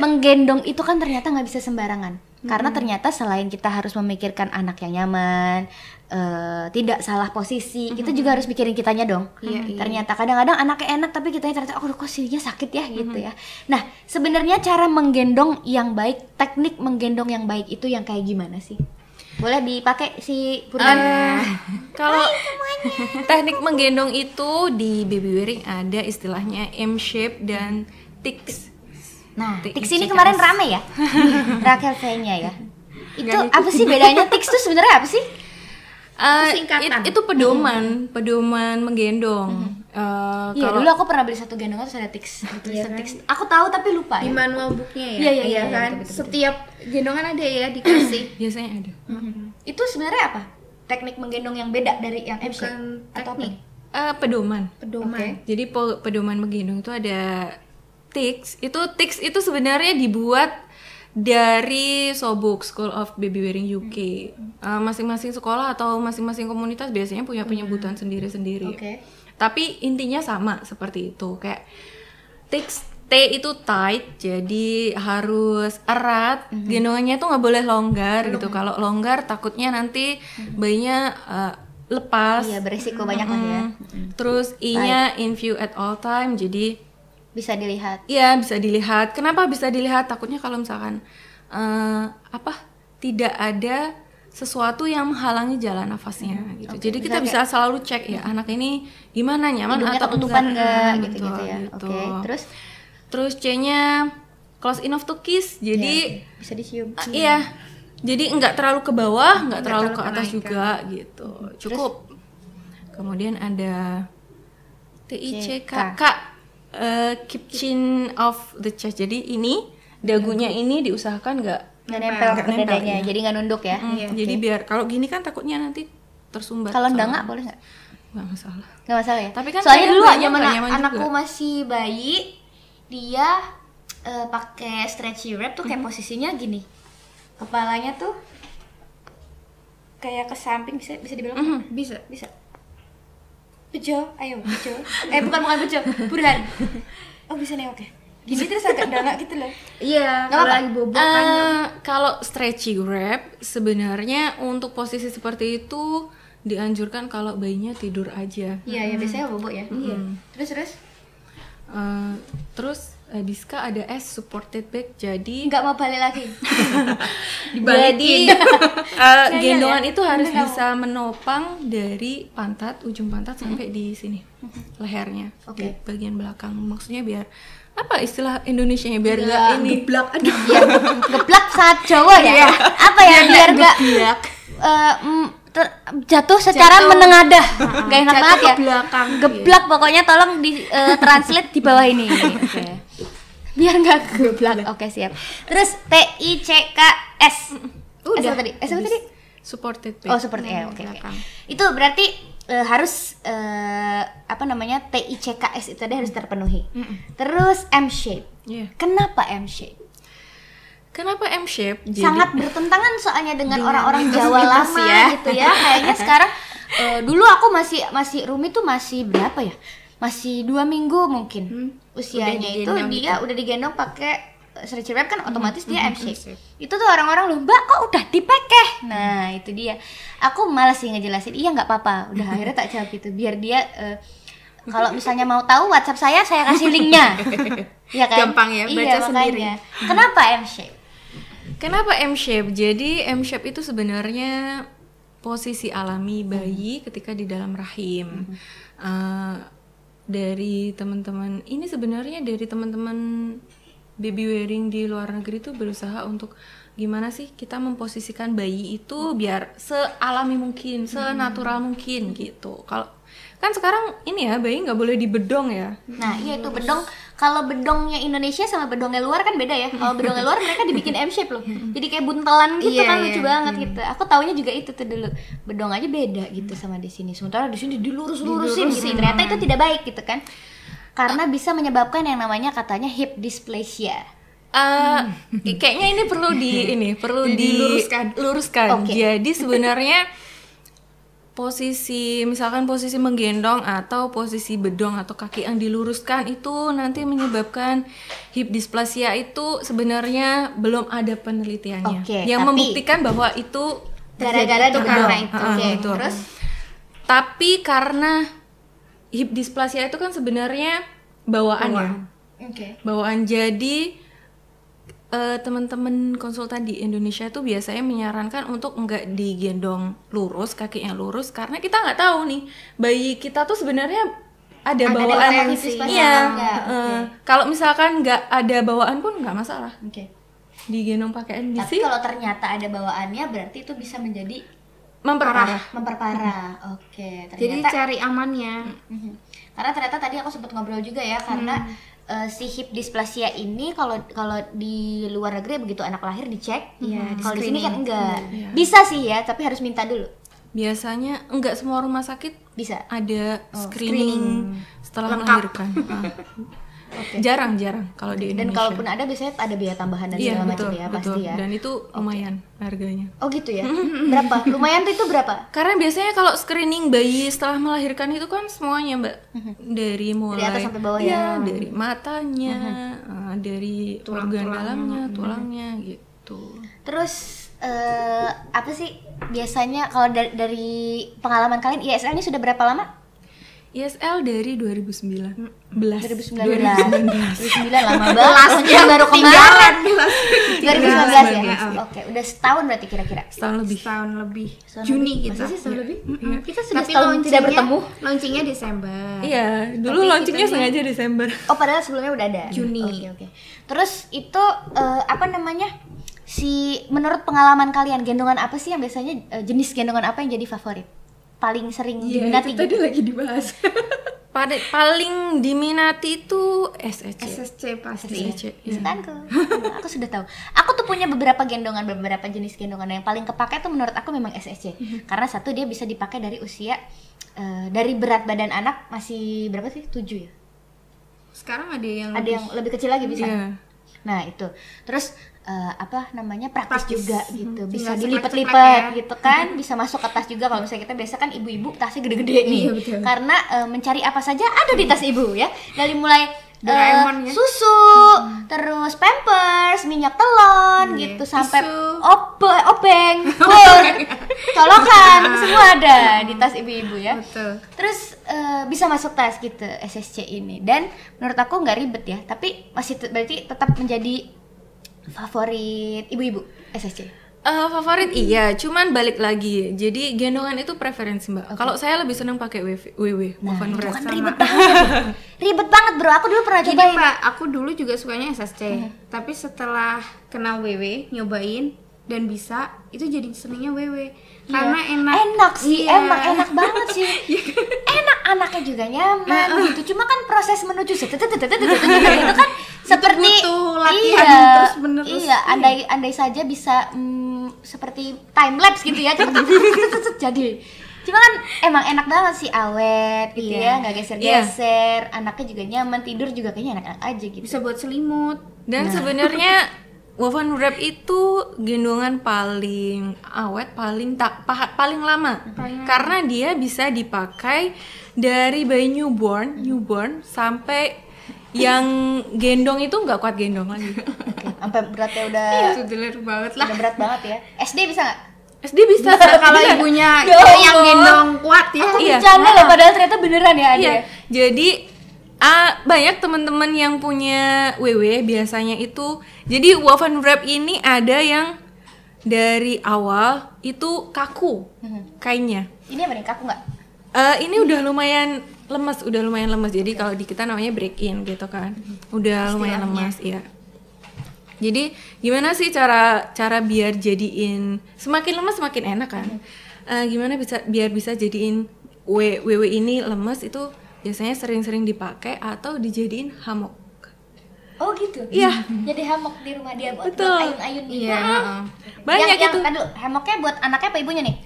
A: menggendong itu kan ternyata nggak bisa sembarangan. Karena
C: Hmm.
A: ternyata selain kita harus memikirkan anak yang nyaman, eh, tidak salah posisi, itu juga harus mikirin kitanya dong.
C: Hmm, Iya, iya.
A: Ternyata kadang-kadang anaknya enak tapi kitanya ternyata aduh kok sininya sakit ya
C: Hmm,
A: gitu ya. Nah, sebenarnya cara menggendong yang baik, teknik menggendong yang baik itu yang kayak gimana sih? Boleh dipakai si Purna?
B: Eh, kalau teknik menggendong itu di baby wearing ada istilahnya M shape dan tics.
A: Nah,
B: Tik-
A: tiks ini
B: tiks.
A: kemarin rame ya? Rakel kayaknya ya. Itu apa sih bedanya tiks tuh sebenarnya apa sih?
B: Eh,
C: Itu singkatan. Mm-hmm.
B: it- itu pedoman, pedoman menggendong. Eh,
A: Iya,
B: kalau Iya kan?
A: dulu aku pernah beli satu gendongan terus ada tiks. Tulisan tiks. Aku tahu tapi lupa
C: Di
A: ya.
C: manual booknya ya.
A: Iya, iya, iya,
C: kan.
A: betul, betul,
C: Setiap gendongan ada ya dikasih.
B: biasanya ada.
A: Itu sebenarnya apa? Teknik menggendong yang beda dari yang M shape
C: Bukan
A: atau apa?
C: teknik.
B: Eh, pedoman.
C: Pedoman.
B: Jadi po- pedoman menggendong itu ada tics. Itu tics itu sebenarnya dibuat dari Sobuk School of Baby Wearing UK.
A: Hmm.
B: Eh, masing-masing sekolah atau masing-masing komunitas biasanya punya penyebutan
A: Hmm.
B: sendiri-sendiri.
A: Oke.
B: Tapi intinya sama seperti itu. Kayak tics T itu tight, jadi harus erat.
A: Hmm.
B: Gendongannya tuh nggak boleh longgar gitu. Kalau longgar takutnya nanti bayinya eh, lepas.
A: Hmm. Iya, beresiko banyak lah ya.
B: Terus I-nya in view at all time. Jadi
A: Bisa dilihat.
B: ya bisa dilihat. Kenapa bisa dilihat? Takutnya kalau misalkan eh, apa tidak ada sesuatu yang menghalangi jalan nafasnya gitu. Jadi kita bisa selalu cek ya anak ini gimana nyaman
A: Hidungnya
B: atau
A: ketutupan
B: enggak,
A: enggak gitu-gitu
B: betul,
A: ya.
B: gitu.
A: Oke, terus
B: Terus C-nya close enough to kiss. Jadi
A: bisa dicium.
B: eh, iya. Jadi nggak terlalu ke bawah, nggak terlalu ke atas juga gitu. Cukup. Kemudian ada TICK, K, eh, keep chin of the chest. Jadi ini dagunya ini diusahakan nggak
A: Nggak nempel
B: Nggak
A: ke
B: nempel,
A: dadanya,
B: iya.
A: jadi nggak nunduk ya.
B: Mm, Jadi biar kalau gini kan takutnya nanti tersumbat.
A: Kalau
B: sama-
A: ndangak boleh nggak?
B: nggak masalah.
A: Gak masalah ya.
B: Tapi kan
A: soalnya
B: kadang
A: dulu
B: banyak
A: zaman
B: nggak nyaman
A: anakku
B: juga.
A: masih bayi, dia eh, pakai stretchy wrap tuh kayak posisinya gini. Kepalanya tuh
D: kayak ke samping bisa bisa dibelok nggak?
C: Bisa.
D: bisa bejo ayo bejo eh bukan bukan bejo burhan oh bisa nengok ya gini terus agak dangak gitu loh
A: Nggak
C: Iya, kalau
A: apa-apa.
C: lagi bobo kan
B: Eh, kalau stretching wrap sebenarnya untuk posisi seperti itu dianjurkan kalau bayinya tidur aja.
D: iya ya biasanya bobo ya iya terus terus
B: Eh, terus eh, Diska ada S supported bag jadi
D: nggak mau balik lagi
B: Jadi eh,
D: Sayang
B: gendongan
D: ya.
B: itu harus
D: Bener
B: bisa menopang dari pantat ujung pantat sampai di sini lehernya, di
A: Oke.
B: bagian belakang. Maksudnya biar apa istilah Indonesia nya biar nggak
A: Nggak
B: ini
C: geblak aduh.
A: biar geblak Iya, saat Jawa
C: Iya.
A: ya apa ya biar gak eh, mm, ter- jatuh secara
C: Jatuh.
A: menengadah gak enak
C: Jatuh
A: banget
C: ke
A: ya
C: belakang.
A: geblak pokoknya tolong di eh, translate di bawah ini
C: Iya.
A: biar nggak geblak oke siap terus T I C K S S apa tadi S apa tadi
B: supported bag.
A: oh seperti ya oke oke.
B: belakang.
A: itu berarti eh, harus eh, apa namanya T I C K S itu tadi harus terpenuhi terus M shape
B: Iya.
A: kenapa M shape
B: Kenapa M shape? Jadi-
A: sangat bertentangan soalnya dengan orang-orang Jawa lama
B: ya.
A: gitu ya kayaknya sekarang eh, dulu aku masih masih Rumi tuh masih berapa ya masih dua minggu mungkin usianya itu
B: digendong
A: dia udah digendong pakai eh, stretcher wrap kan otomatis dia M shape itu tuh orang-orang loh mbak kok udah dipekeh nah itu dia aku malas sih ngejelasin iya nggak apa-apa udah akhirnya tak jawab itu biar dia eh, kalau misalnya mau tahu WhatsApp saya saya kasih linknya ya kan
C: Gampang ya,
A: Iya,
C: baca sendiri.
A: makanya. kenapa M shape
B: Kenapa M shape? Jadi M shape itu sebenarnya posisi alami bayi ketika di dalam rahim. Eh, dari teman-teman ini sebenarnya dari teman-teman baby wearing di luar negeri itu berusaha untuk gimana sih kita memposisikan bayi itu biar sealami mungkin, senatural mungkin gitu. Kalau kan sekarang ini ya bayi nggak boleh dibedong ya.
A: Nah, iya itu bedong. Kalau bedongnya Indonesia sama bedongnya luar kan beda ya. Kalau bedongnya luar mereka dibikin M shape loh. Jadi kayak buntelan gitu
C: Iya,
A: kan
C: iya.
A: lucu banget gitu. Aku taunya juga itu tuh dulu. Bedong aja beda gitu sama di sini. Sementara di sini dilurus-lurusin gitu. Ternyata itu tidak baik gitu kan. Karena bisa menyebabkan yang namanya katanya hip dysplasia.
B: Eh, kayaknya ini perlu di ini perlu
C: Jadi diluruskan.
B: diluruskan.
A: Oke.
B: Jadi sebenarnya posisi misalkan posisi menggendong atau posisi bedong atau kaki yang diluruskan itu nanti menyebabkan hip dysplasia itu sebenarnya belum ada penelitiannya
A: Oke,
B: yang
A: tapi-
B: membuktikan bahwa itu
A: Gara-gara
B: itu
A: di
B: karena
A: bedong.
B: itu.
A: Oke,
B: Ah, betul.
A: terus?
B: Tapi karena hip dysplasia itu kan sebenarnya bawaan, ya
D: oke
B: bawaan jadi eh, teman-teman konsultan di Indonesia itu biasanya menyarankan untuk nggak digendong lurus kakinya lurus karena kita nggak tahu nih bayi kita tuh sebenarnya ada
A: Ada
B: bawaan
A: potensi spasial
B: iya
A: atau nggak,
B: eh, kalau misalkan nggak ada bawaan pun nggak masalah
A: Oke.
B: digendong pakai
A: Tapi
B: NBC
A: kalau ternyata ada bawaannya berarti itu bisa menjadi
B: memperparah
A: memperparah. Oke, ternyata
C: Jadi cari amannya.
A: Mhm. Karena ternyata tadi aku sempat ngobrol juga ya karena
B: Mhm.
A: eh, si hip dysplasia ini kalau kalau di luar negeri ya begitu anak lahir dicek,
C: Iya, di
A: kalau di sini kan
C: screening.
A: enggak.
B: Iya.
A: Bisa sih ya, tapi harus minta dulu.
B: biasanya nggak semua rumah sakit
A: Bisa.
B: ada
A: Oh,
B: screening, setelah
C: Lengkap.
B: melahirkan Ah. jarang-jarang kalau di Indonesia
A: Dan kalaupun ada biasanya ada biaya tambahan dan
B: Iya
A: segala macam
B: betul,
A: ya
B: betul.
A: pasti ya.
B: Dan Mhm. itu lumayan harganya.
A: Oh gitu ya. berapa? Lumayan tuh itu berapa?
B: Karena biasanya kalau screening bayi setelah melahirkan itu kan semuanya mbak dari mulai
A: Mm-hmm. atas sampai bawah
B: Iya,
A: ya. Mm-hmm.
B: dari matanya, eh, dari organ dalamnya,
C: Mm-hmm.
B: tulangnya gitu.
A: Terus eh, apa sih biasanya kalau dari, dari pengalaman kalian ISL ini sudah berapa lama?
B: ISL dari 2009. Belas.
A: 2019.
B: 2019.
A: 2009 lama banget. Iya, baru kemarin. 2019 ya. Oke, udah setahun berarti kira-kira.
B: Setahun lebih.
C: Setahun lebih.
A: Setahun
C: Juni
A: lebih.
C: gitu.
A: Masa sih setahun lebih? Iya.
C: Mm-mm. Kita sudah
A: Tapi
C: setahun
A: launchingnya-
C: tidak bertemu. Launchingnya Desember.
B: Iya, dulu
C: Tapi
B: launchingnya
C: itunya-
B: sengaja Desember.
A: Oh, padahal sebelumnya udah ada.
C: Juni.
A: Oke, oke. Terus itu eh, apa namanya? Si menurut pengalaman kalian gendongan apa sih yang biasanya eh, jenis gendongan apa yang jadi favorit? Paling sering diminati gitu.
C: Iya, lagi dibahas.
B: Pada- Paling diminati itu
A: Iya.
B: SEC.
C: SSC pasti.
B: SSC. iya.
A: Kesukaanku. aku sudah tahu. Aku tuh punya beberapa gendongan, beberapa jenis gendongan yang paling kepake tuh menurut aku memang SSC.
B: Mhm.
A: Karena satu dia bisa dipakai dari usia eh, dari berat badan anak masih berapa sih? 7 ya.
C: Sekarang ada yang
A: Ada yang lebih kecil lagi bisa.
B: Iya.
A: Nah, itu. Terus eh, apa namanya praktis,
C: Praktis.
A: juga
C: Mhm.
A: gitu.
C: Tinggal
A: Bisa
C: ceplek-ceplek
A: dilipat-lipat
C: ya.
A: gitu kan, bisa masuk ke tas juga kalau misalnya kita biasa kan ibu-ibu tasnya gede-gede nih.
C: Iya, betul.
A: Karena eh, mencari apa saja ada di tas ibu ya. Dari mulai eh,
C: Doraemon, ya.
A: susu, terus pampers, minyak telon
C: Iya.
A: gitu sampai
C: Tisu.
A: ope, obeng, kur, colokan semua ada di tas ibu-ibu ya.
C: Betul.
A: Terus eh, bisa masuk tas gitu SSC ini dan menurut aku nggak ribet ya, tapi masih te- berarti tetap menjadi favorit ibu-ibu SSC.
B: Eh, favorit iya, cuman balik lagi. Jadi gendongan itu preferensi mbak. Kalau saya lebih seneng pakai WW, WW,
A: Nah,
B: woven
A: itu
B: wrap.
A: kan ribet banget. ribet banget, Bro. Aku dulu pernah
C: Jadi
A: cobain.
C: Mbak, aku dulu juga sukanya SSC,
A: Mm-hmm.
C: tapi setelah kena WW, nyobain dan bisa, itu jadi senengnya WW karena
A: Iya.
C: enak.
A: Enak sih,
C: Iya. kan?
A: emang enak banget sih. enak anaknya juga nyaman gitu. Cuma kan proses menuju situ itu kan seperti
C: butuh latihan terus-menerus.
A: Iya, andai andai saja bisa mm, seperti time lapse gitu ya, cepet- cepet- jadi. Cuma kan emang enak banget sih awet gitu
C: Iya.
A: ya, nggak geser-geser, anaknya juga nyaman, tidur juga kayaknya enak-enak aja gitu.
C: Bisa buat selimut.
B: Dan sebenarnya woven wrap itu gendongan paling awet, paling tak pahat, paling lama. Karena dia bisa dipakai dari bayi newborn, newborn sampai yang gendong itu nggak kuat gendong lagi.
A: Oke, Sampai beratnya udah
C: Sudeler banget lah.
A: udah berat banget ya. SD bisa nggak?
B: SD bisa,
C: Bisa kalau
B: Bener.
C: ibunya
B: Ya
C: yang
B: Allah.
C: gendong kuat ya.
A: Aku
B: Iya.
A: bercanda loh, padahal ternyata beneran ya ada.
B: Iya. Jadi ah, banyak teman-teman yang punya WW biasanya itu. Jadi woven wrap ini ada yang dari awal itu kaku
A: Mm-hmm.
B: kainnya.
A: Ini apa nih? Kaku nggak?
B: Eh, ini udah lumayan lemes, udah lumayan lemes. Jadi kalau di kita namanya break in gitu kan. Udah lumayan lemes, ya. Jadi gimana sih cara cara biar jadiin semakin lemes semakin enak kan? Eh, gimana bisa biar bisa jadiin W- WW ini lemes itu biasanya sering-sering dipakai atau dijadiin hamok.
A: Oh gitu.
B: Iya.
A: Jadi hamok di rumah dia buat
B: Betul.
A: buat ayun-ayun gitu.
C: Iya,
A: Ah.
B: heeh. Banyak
A: yang, kan
B: itu. Iya.
A: Yang, aduh, hamoknya buat anaknya apa ibunya nih?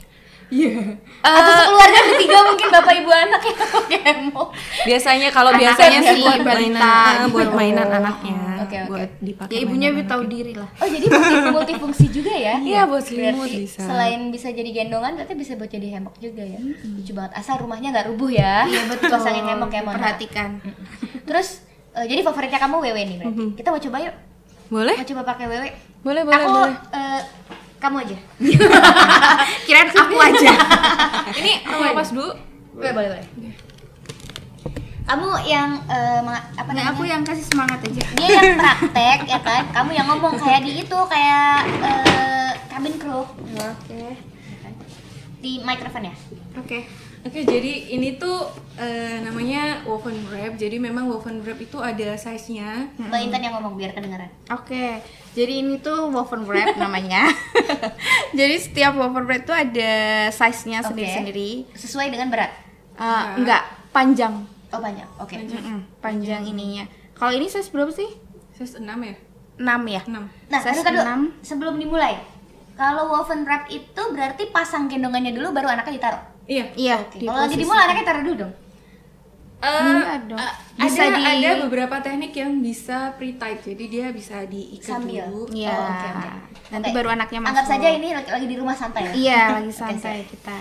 A: Atau
B: Eh,
A: sekeluarga bertiga mungkin bapak ibu anak yang pakai hamok.
B: biasanya kalau
C: Anaknya
B: biasanya sih
C: sih
B: buat
C: balita
B: mainan, eh,
C: gitu.
B: buat mainan anaknya,
A: Oke, oke.
B: buat dipakai.
C: Ya ibunya
B: mainan
C: tahu diri lah.
A: Oh jadi multi- multifungsi juga ya?
B: Iya, buat selimut
A: Berarti
B: bisa.
A: Selain bisa jadi gendongan, berarti bisa buat jadi hamok juga ya. Lucu banget. Asal rumahnya nggak rubuh ya. Iya betul. Pasangin hamok ya, mohon maaf.
C: Perhatikan.
A: Terus eh, jadi favoritnya kamu wewe nih berarti. Kita mau coba yuk.
B: Boleh?
A: Mau coba pakai wewe.
B: Mm-hmm. Eh? Boleh, boleh,
A: Aku
B: boleh.
A: eh, kamu aja.
C: Kirain aku aja.
B: Ini aku lepas dulu.
A: Boleh, boleh, boleh. Kamu yang eh, ma- apa
C: Nah,
A: namanya?
C: aku yang kasih semangat aja.
A: Dia yang praktek ya kan? Kamu yang ngomong kayak di itu kayak eh, cabin crew
C: Oke.
A: di microphone ya.
C: Oke.
B: Oke, jadi ini tuh eh, namanya woven wrap. Jadi memang woven wrap itu ada size-nya.
A: Mbak Intan yang ngomong biar kedengeran.
C: Oke, jadi ini tuh woven wrap namanya. jadi setiap woven wrap tuh ada size-nya
A: Oke.
C: sendiri-sendiri.
A: Sesuai dengan berat.
C: Eh, enggak, panjang.
A: Oh banyak. Oke.
C: Mm-mm, panjang ininya. Kalau ini size berapa sih?
B: Size 6 ya?
C: 6 ya?
B: 6.
A: Nah,
C: Size
A: aduh, aduh,
C: enam.
A: sebelum dimulai, kalau woven wrap itu berarti pasang gendongannya dulu baru anaknya ditaruh.
B: Iya.
C: Iya.
A: Oke. Kalau lagi dimulai anaknya taruh dulu dong.
C: Enggak dong.
A: Iya Bisa
B: Eh, ada,
A: di-
B: ada beberapa teknik yang bisa pre-tight. Jadi dia bisa diikat
A: Sambil.
B: dulu.
C: Iya.
A: Oh, oke, oke.
C: Nanti
A: Oke.
C: baru anaknya masuk.
A: Anggap saja ini lagi, lagi di rumah santai ya.
C: Iya, lagi
A: Oke,
C: santai
A: siap.
C: kita.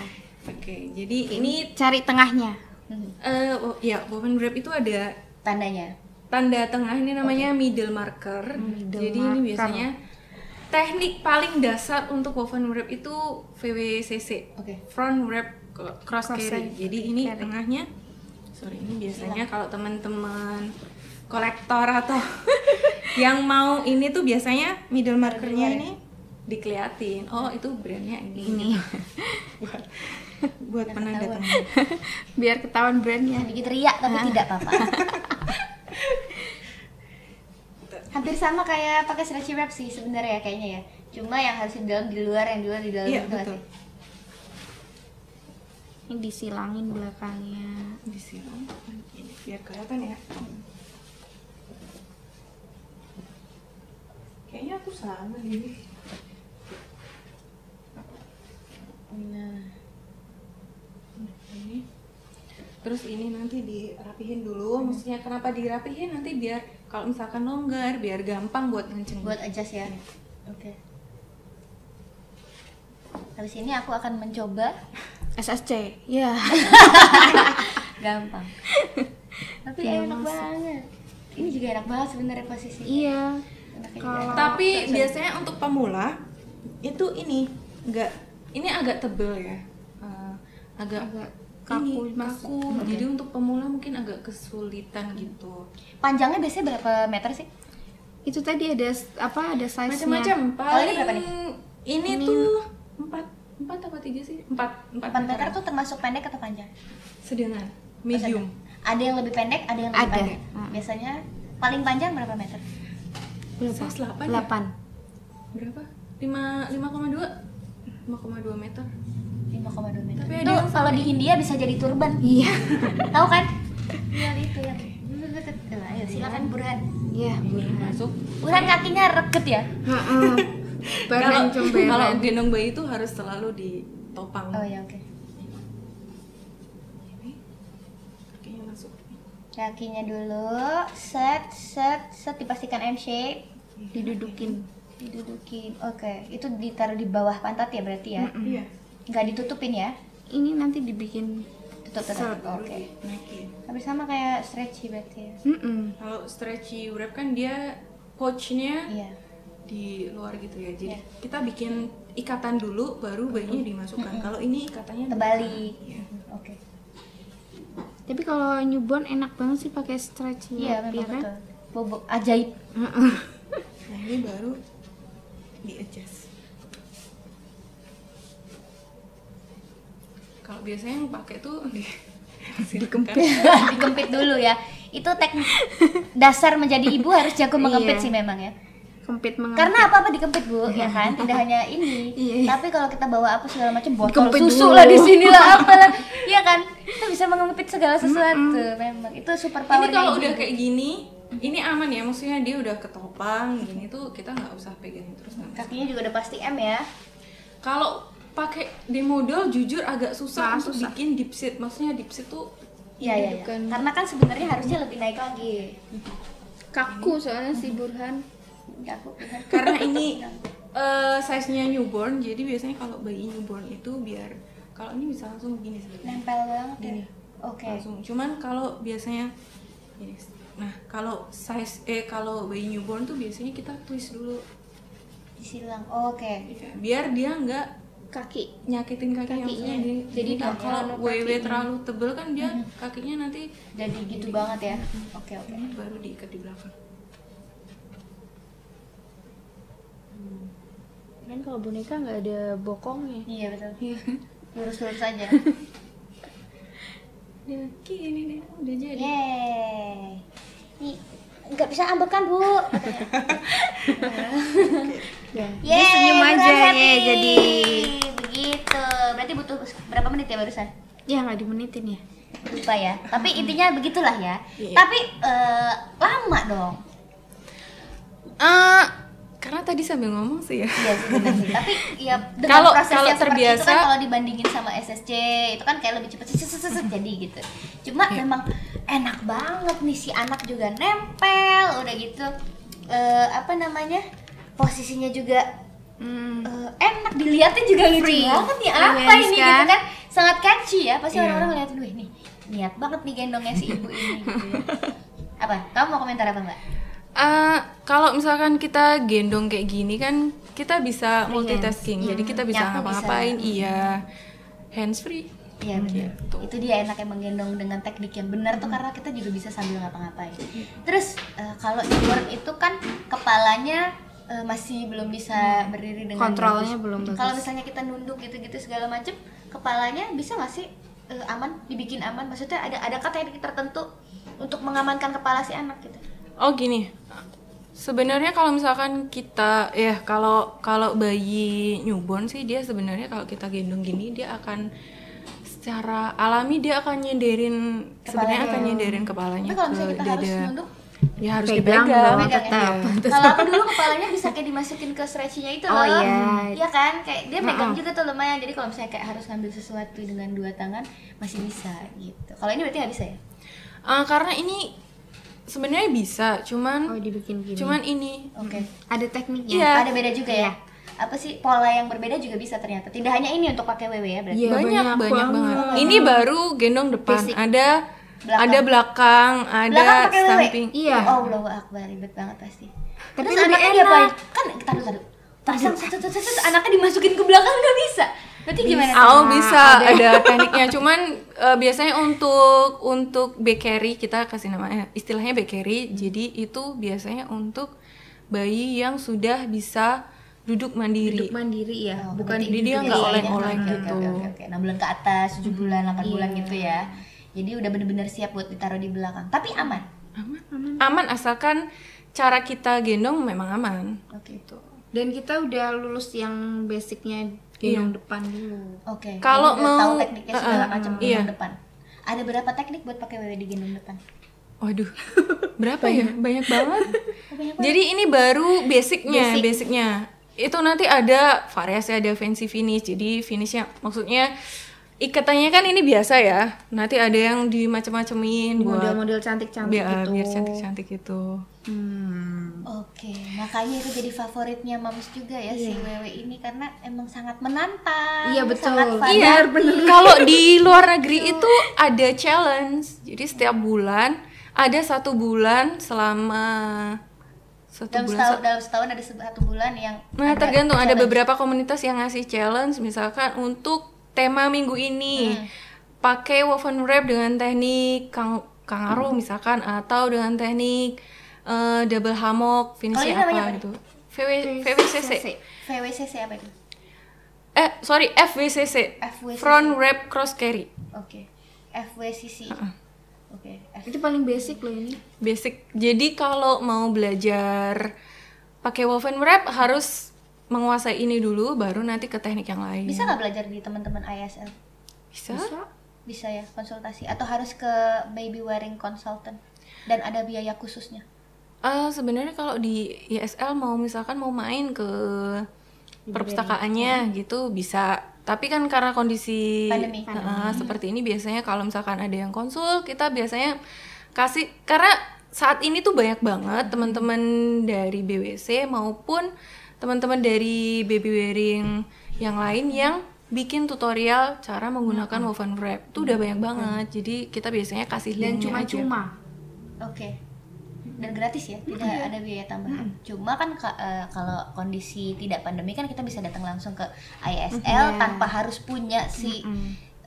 B: Oke, jadi ini
C: Cari tengahnya.
A: Hmm,
B: eh wo- ya woven wrap itu ada
A: Tandanya.
B: tanda tengah ini namanya middle marker. Jadi ini
C: marker.
B: biasanya teknik paling dasar untuk woven wrap itu VWCC.
A: Oke.
B: Front wrap co- cross,
C: Cross
B: carry.
C: carry.
B: Jadi ini
C: Carry.
B: tengahnya sorry ini biasanya kalau teman-teman kolektor atau yang mau ini tuh biasanya middle markernya ini dikeliatin. Oh, itu brandnya ini. ini. buat buat penanda
A: ketahuan.
B: tengah.
C: Biar ketahuan brandnya.
A: Sedikit Ya, riak tapi tidak apa-apa. Hampir sama kayak pakai stretchy wrap sih sebenarnya ya kayaknya ya. Cuma yang harus di dalam di luar, yang di luar di dalam
B: Iya,
A: gitu nggak
B: betul.
A: sih?
C: Ini disilangin belakangnya.
B: Disiram. Ini biar kelihatan ya. Kayaknya aku salah ini. Nah. Ini.
C: Hmm.
B: Terus ini nanti dirapihin dulu. Maksudnya kenapa dirapihin nanti biar Kalau misalkan longgar biar gampang buat ngencengin.
A: buat adjust ya oke habis ini aku akan mencoba
C: SSC ya
A: gampang tapi enak banget ini juga enak banget sebenarnya posisi
C: iya
A: Enaknya juga.
C: Kalau-
B: Tapi biasanya untuk pemula itu ini enggak ini agak tebel ya. Eh, agak
C: Agak
B: kaku,
C: kaku, Hmm.
B: kaku. Jadi untuk pemula mungkin agak kesulitan gitu.
A: panjangnya biasanya berapa meter sih
C: itu tadi ada s- apa ada size
B: Macam-macam.
A: Kalau ini
B: Paling
A: berapa
B: ini,
A: nih?
B: tuh empat empat apa tiga sih? Empat empat,
A: 4 meter
B: meteran.
A: tuh termasuk pendek atau panjang
B: sedangkan medium.
A: ada yang lebih pendek ada yang lebih
C: Ada.
A: panjang biasanya paling panjang berapa meter
B: Berapa? 8 ya?
C: 8
B: Berapa? 5 5,2 5,2 meter.
A: 5,2 meter
B: Tapi ada
A: tuh
B: yang
A: kalau di India bisa jadi turban
C: iya
A: tahu kan iya itu yang
B: Iya,
A: Nah, ayo silakan Burhan
C: iya
B: Ini masuk.
A: Burhan kakinya reket ya
B: Kalau
C: Barang
B: kalau
C: cemberan
B: gendong bayi itu harus selalu ditopang.
A: oh ya oke
B: Kakinya masuk.
A: kakinya dulu set set set dipastikan M shape
C: didudukin
A: didudukin oke itu ditaruh di bawah pantat ya berarti ya
B: Iya.
A: nggak ditutupin ya
C: ini nanti dibikin
A: tutup tutup
C: Set.
A: oke
B: Naikin.
A: tapi sama kayak stretchy berarti ya
C: Mm-mm.
B: Kalau stretchy wrap kan dia pouchnya
A: iya
B: di luar gitu ya. Jadi kita bikin ikatan dulu baru bayinya dimasukkan. Kalau ini ikatannya
A: kebalik
B: Iya.
A: oke
C: tapi kalau newborn enak banget sih pakai stretch
A: iya memang
C: wrap, ya kan?
A: betul bobok ajaib
B: Nah, ini baru di adjust. Kalau biasanya yang pakai tuh di dikempit.
A: dikempit dulu ya itu teknik dasar menjadi ibu harus jago mengempit
C: Iya.
A: sih memang ya
C: kempit mengempit
A: karena apa apa dikempit bu ya kan tidak hanya ini
C: Iya, iya.
A: tapi kalau kita bawa apa segala macam botol
C: Dikempit
A: susu
C: dulu.
A: lah di sini lah apalah ya kan kita bisa mengempit segala sesuatu memang itu super power
B: Ini kalau udah kayak gini, ini aman ya. Maksudnya dia udah ketopang gini tuh kita nggak usah pegang terus. nggak usah.
A: kakinya juga udah pasti M ya
B: Kalau pakai demodel jujur agak susah
C: Malah
B: untuk
C: susah.
B: bikin deep seat. Maksudnya deep seat tuh
A: Iya, iya, iya.
B: Bukan.
A: Karena kan sebenarnya harusnya lebih naik lagi.
C: kaku soalnya si Burhan
A: Aku
B: karena ini eh, size-nya newborn, jadi biasanya kalau bayi newborn itu biar kalau ini bisa langsung begini sebenarnya.
A: nempel banget ya.
B: Gini.
A: Oke.
B: langsung cuman kalau biasanya gini, nah kalau size eh kalau bayi newborn tuh biasanya kita twist dulu
A: Disilang. Oke.
B: biar dia nggak
C: kaki
B: nyakitin kakinya,
C: Kakinya.
B: maksudnya dia-
A: Jadi
B: dia nggak-
A: nggak
B: kalau
A: nyelonok
B: wewe terlalu tebel kan dia kakinya nanti
A: Jadi gitu banget ya. Oke, oke.
B: ini baru diikat di belakang
C: kan kalau boneka nggak ada bokongnya
A: Iya, betul. Lurus-lurus aja.
B: ya gini deh udah jadi
A: Yeay. Nih, nggak bisa ambek kan, Bu?
C: dan
A: Yeay,
C: senyum
A: kurang
C: aja,
A: happy.
C: yeay, jadi.
A: begitu. Berarti butuh berapa menit ya barusan?
C: ya nggak dimenitin ya
A: Lupa ya. Tapi intinya begitulah ya.
B: Iya.
A: Tapi eh, lama dong.
B: Eh, karena tadi sambil ngomong sih ya
A: Iya sih, bener sih. tapi ya dengan
B: Kalau-
A: proses
B: kalau
A: yang seperti itu kan
B: terbiasa-
A: kalau dibandingin sama SSC itu kan kayak lebih cepet seset, seset, seset, jadi gitu cuma memang enak banget nih si anak juga nempel udah gitu eh, apa namanya posisinya juga eh, enak dilihatnya juga lucu
C: Free.
A: banget nih
C: Iya,
A: apa ini
C: kan?
A: gitu kan sangat catchy ya pasti
B: Iya.
A: orang-orang ngeliatin gue nih niat banget nih gendongnya si ibu ini gitu ya. apa kamu mau komentar apa mbak
B: Eh, kalau misalkan kita gendong kayak gini kan kita bisa multitasking. Jadi kita
A: Nyapu
B: bisa
A: bisa.
B: ngapa-ngapain. Iya. Hands free.
A: Iya benar.
B: Gitu.
A: Itu dia enaknya menggendong dengan teknik yang benar tuh karena kita juga bisa sambil ngapa-ngapain. Terus eh, kalau newborn itu kan kepalanya eh, masih belum bisa berdiri dengan
C: Kontrolnya belum bagus.
A: Kalau misalnya kita nunduk gitu-gitu segala macem kepalanya bisa nggak sih eh, aman dibikin aman? Maksudnya ada ada teknik tertentu untuk mengamankan kepala si anak gitu.
B: Oh gini. Sebenarnya kalau misalkan kita ya kalau kalau bayi newborn sih dia sebenarnya kalau kita gendong gini dia akan secara alami dia akan nyenderin sebenarnya akan nyenderin kepalanya
A: Tapi kalau
B: ke
A: misalnya kita harus
B: dada.
A: nunduk
B: Ya harus
C: Pegang
B: dipegang.
C: dong, tetap.
A: Kalau aku dulu kepalanya bisa kayak dimasukin ke stretching-nya itu
C: Oh,
A: loh.
C: iya.
A: Iya kan? Kayak dia megang juga tuh lumayan. Jadi kalau misalnya kayak harus ngambil sesuatu dengan dua tangan masih bisa gitu. Kalau ini berarti nggak bisa ya?
B: Eh, karena ini sebenarnya bisa
C: Oh
B: cuman
C: dibikin gini.
B: cuman ini
A: Oke.
C: ada tekniknya.
B: Iya.
A: Ada beda juga ya. Apa sih pola yang berbeda juga bisa ternyata. Tidak hanya ini untuk pakai WW ya berarti.
C: Iya,
B: banyak banyak, banget. Ini baru gendong depan,
C: Basic.
B: ada
A: Hmm. Belakang.
B: ada belakang, ada
A: Belakang pakai wewe.
B: samping.
C: Iya.
A: Oh, Allahu Akbar, ribet banget pasti.
C: Tapi
A: Terus
C: lebih
A: anaknya
C: enak.
A: diapain? Kan taruh taruh. Pasang satu satu satu anaknya dimasukin ke belakang nggak bisa. Berarti gimana? tuh?
B: Oh bisa ada tekniknya cuman eh, biasanya untuk untuk bakery kita kasih namanya istilahnya bakery jadi itu biasanya untuk bayi yang sudah bisa duduk mandiri
C: Hidup mandiri ya,
A: Oh,
C: bukan
A: berarti
B: di
C: hidup
B: dia
A: gitu
B: nggak
A: ya,
C: mandiri.
A: oke,
B: oleng-oleng
A: oke,
B: gitu. Hmm. Iya.
A: Oke, oke, oke. 6 bulan ke atas, 7 bulan, 8 bulan gitu ya. Jadi udah bener-bener siap buat ditaruh di belakang. Tapi aman.
B: aman aman asalkan cara kita gendong memang aman
A: Oke. itu
C: Dan kita udah lulus yang basicnya gendong depan dulu.
A: Oke.
B: Kalau
A: jadi udah tahu
B: mau-
A: tekniknya segala
B: eh, eh,
A: macam
B: iya.
A: gendong depan. Ada berapa teknik buat pakai wewe di gendong depan?
B: waduh berapa ya banyak banget
A: Oh, banyak banget.
B: Jadi ini baru basicnya,
C: Basic.
B: basicnya. Itu nanti ada variasi, ada fancy finish. Jadi finishnya, maksudnya ikatannya kan ini biasa ya. Nanti ada yang dimacem-macemin buat Iya,
C: Model-model cantik-cantik
B: biar, ah,
C: gitu.
B: biar cantik-cantik gitu.
C: Hmm.
A: Oke, makanya itu jadi favoritnya mams juga ya
B: Iya.
A: si wewe ini karena emang sangat menantang.
C: Iya, betul.
A: Sangat fun.
B: Iya, kalau di luar negeri itu ada challenge. Jadi setiap bulan ada satu bulan selama satu
A: Dalam
B: bulan
A: setahun, dalam setahun ada satu bulan yang
B: Nah,
A: ada
B: tergantung ada
A: challenge.
B: beberapa komunitas yang ngasih challenge misalkan untuk tema minggu ini
A: Hmm.
B: pakai woven wrap dengan teknik kang kangaroo
A: Hmm.
B: misalkan atau dengan teknik eh, double hammock
A: Kalau Oh,
B: finishing
A: ini namanya
B: apa
A: apa?
B: gitu. VW, VWCC.
A: VWCC apa itu?
B: Eh, sorry, FWCC.
A: FWCC.
B: Front wrap cross carry.
A: Oke. FWCC. Oke. F-
C: Itu paling basic loh ini.
B: Basic. Jadi kalau mau belajar pakai woven wrap harus menguasai ini dulu baru nanti ke teknik yang lain.
A: Bisa nggak belajar di teman-teman ISL?
B: Bisa.
A: Bisa ya konsultasi atau harus ke baby wearing consultant dan ada biaya khususnya.
B: Eh, sebenarnya kalau di ISL mau misalkan mau main ke perpustakaannya gitu bisa tapi kan karena kondisi
A: Pandemi.
B: eh, seperti ini biasanya kalau misalkan ada yang konsul kita biasanya kasih karena saat ini tuh banyak banget teman-teman dari BWC maupun teman-teman dari baby wearing yang lain yang bikin tutorial cara menggunakan woven wrap tuh udah banyak banget jadi kita biasanya kasih
C: Dan
B: linknya Iya, aja.
C: cuma-cuma.
A: Oke. Dan gratis ya, tidak ada biaya tambahan. Cuma kan ka- eh, kalau kondisi tidak pandemi kan kita bisa datang langsung ke ISL tanpa harus punya si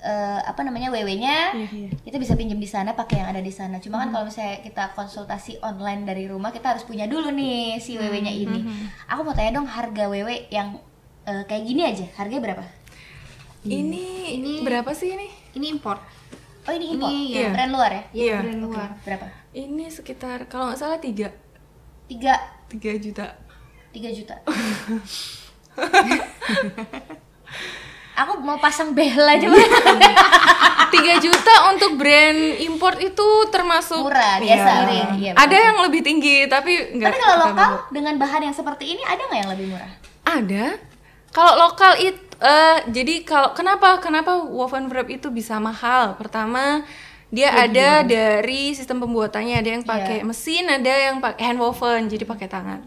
A: eh, apa namanya WW-nya. Kita bisa pinjam di sana pakai yang ada di sana. Cuma kan kalau misalnya kita konsultasi online dari rumah, kita harus punya dulu nih si WW-nya ini. Aku mau tanya dong harga WW yang eh, kayak gini aja, harganya berapa?
B: ini ini
C: Ini-
B: berapa sih ini
C: Ini import.
A: Oh, ini impor.
C: Ini,
B: iya.
A: Brand luar ya?
B: Iya.
C: Brand luar.
A: Berapa?
B: Ini sekitar kalau nggak salah tiga
A: 3
B: tiga juta.
A: 3 juta. Aku mau pasang behel aja
B: Iya,
A: Mas.
B: Tiga juta untuk brand import itu termasuk
A: murah
B: Iya.
A: biasa ring. Iya,
B: Ada
A: betul.
B: yang lebih tinggi tapi nggak.
A: Tapi kalau
B: kita
A: lokal
B: bawa.
A: dengan bahan yang seperti ini ada nggak yang lebih murah?
B: ada. Kalau lokal itu eh, jadi kalau kenapa kenapa woven wrap itu bisa mahal? Pertama dia ada dari sistem pembuatannya ada yang
A: Iya.
B: pakai mesin, ada yang pakai hand woven jadi pakai tangan.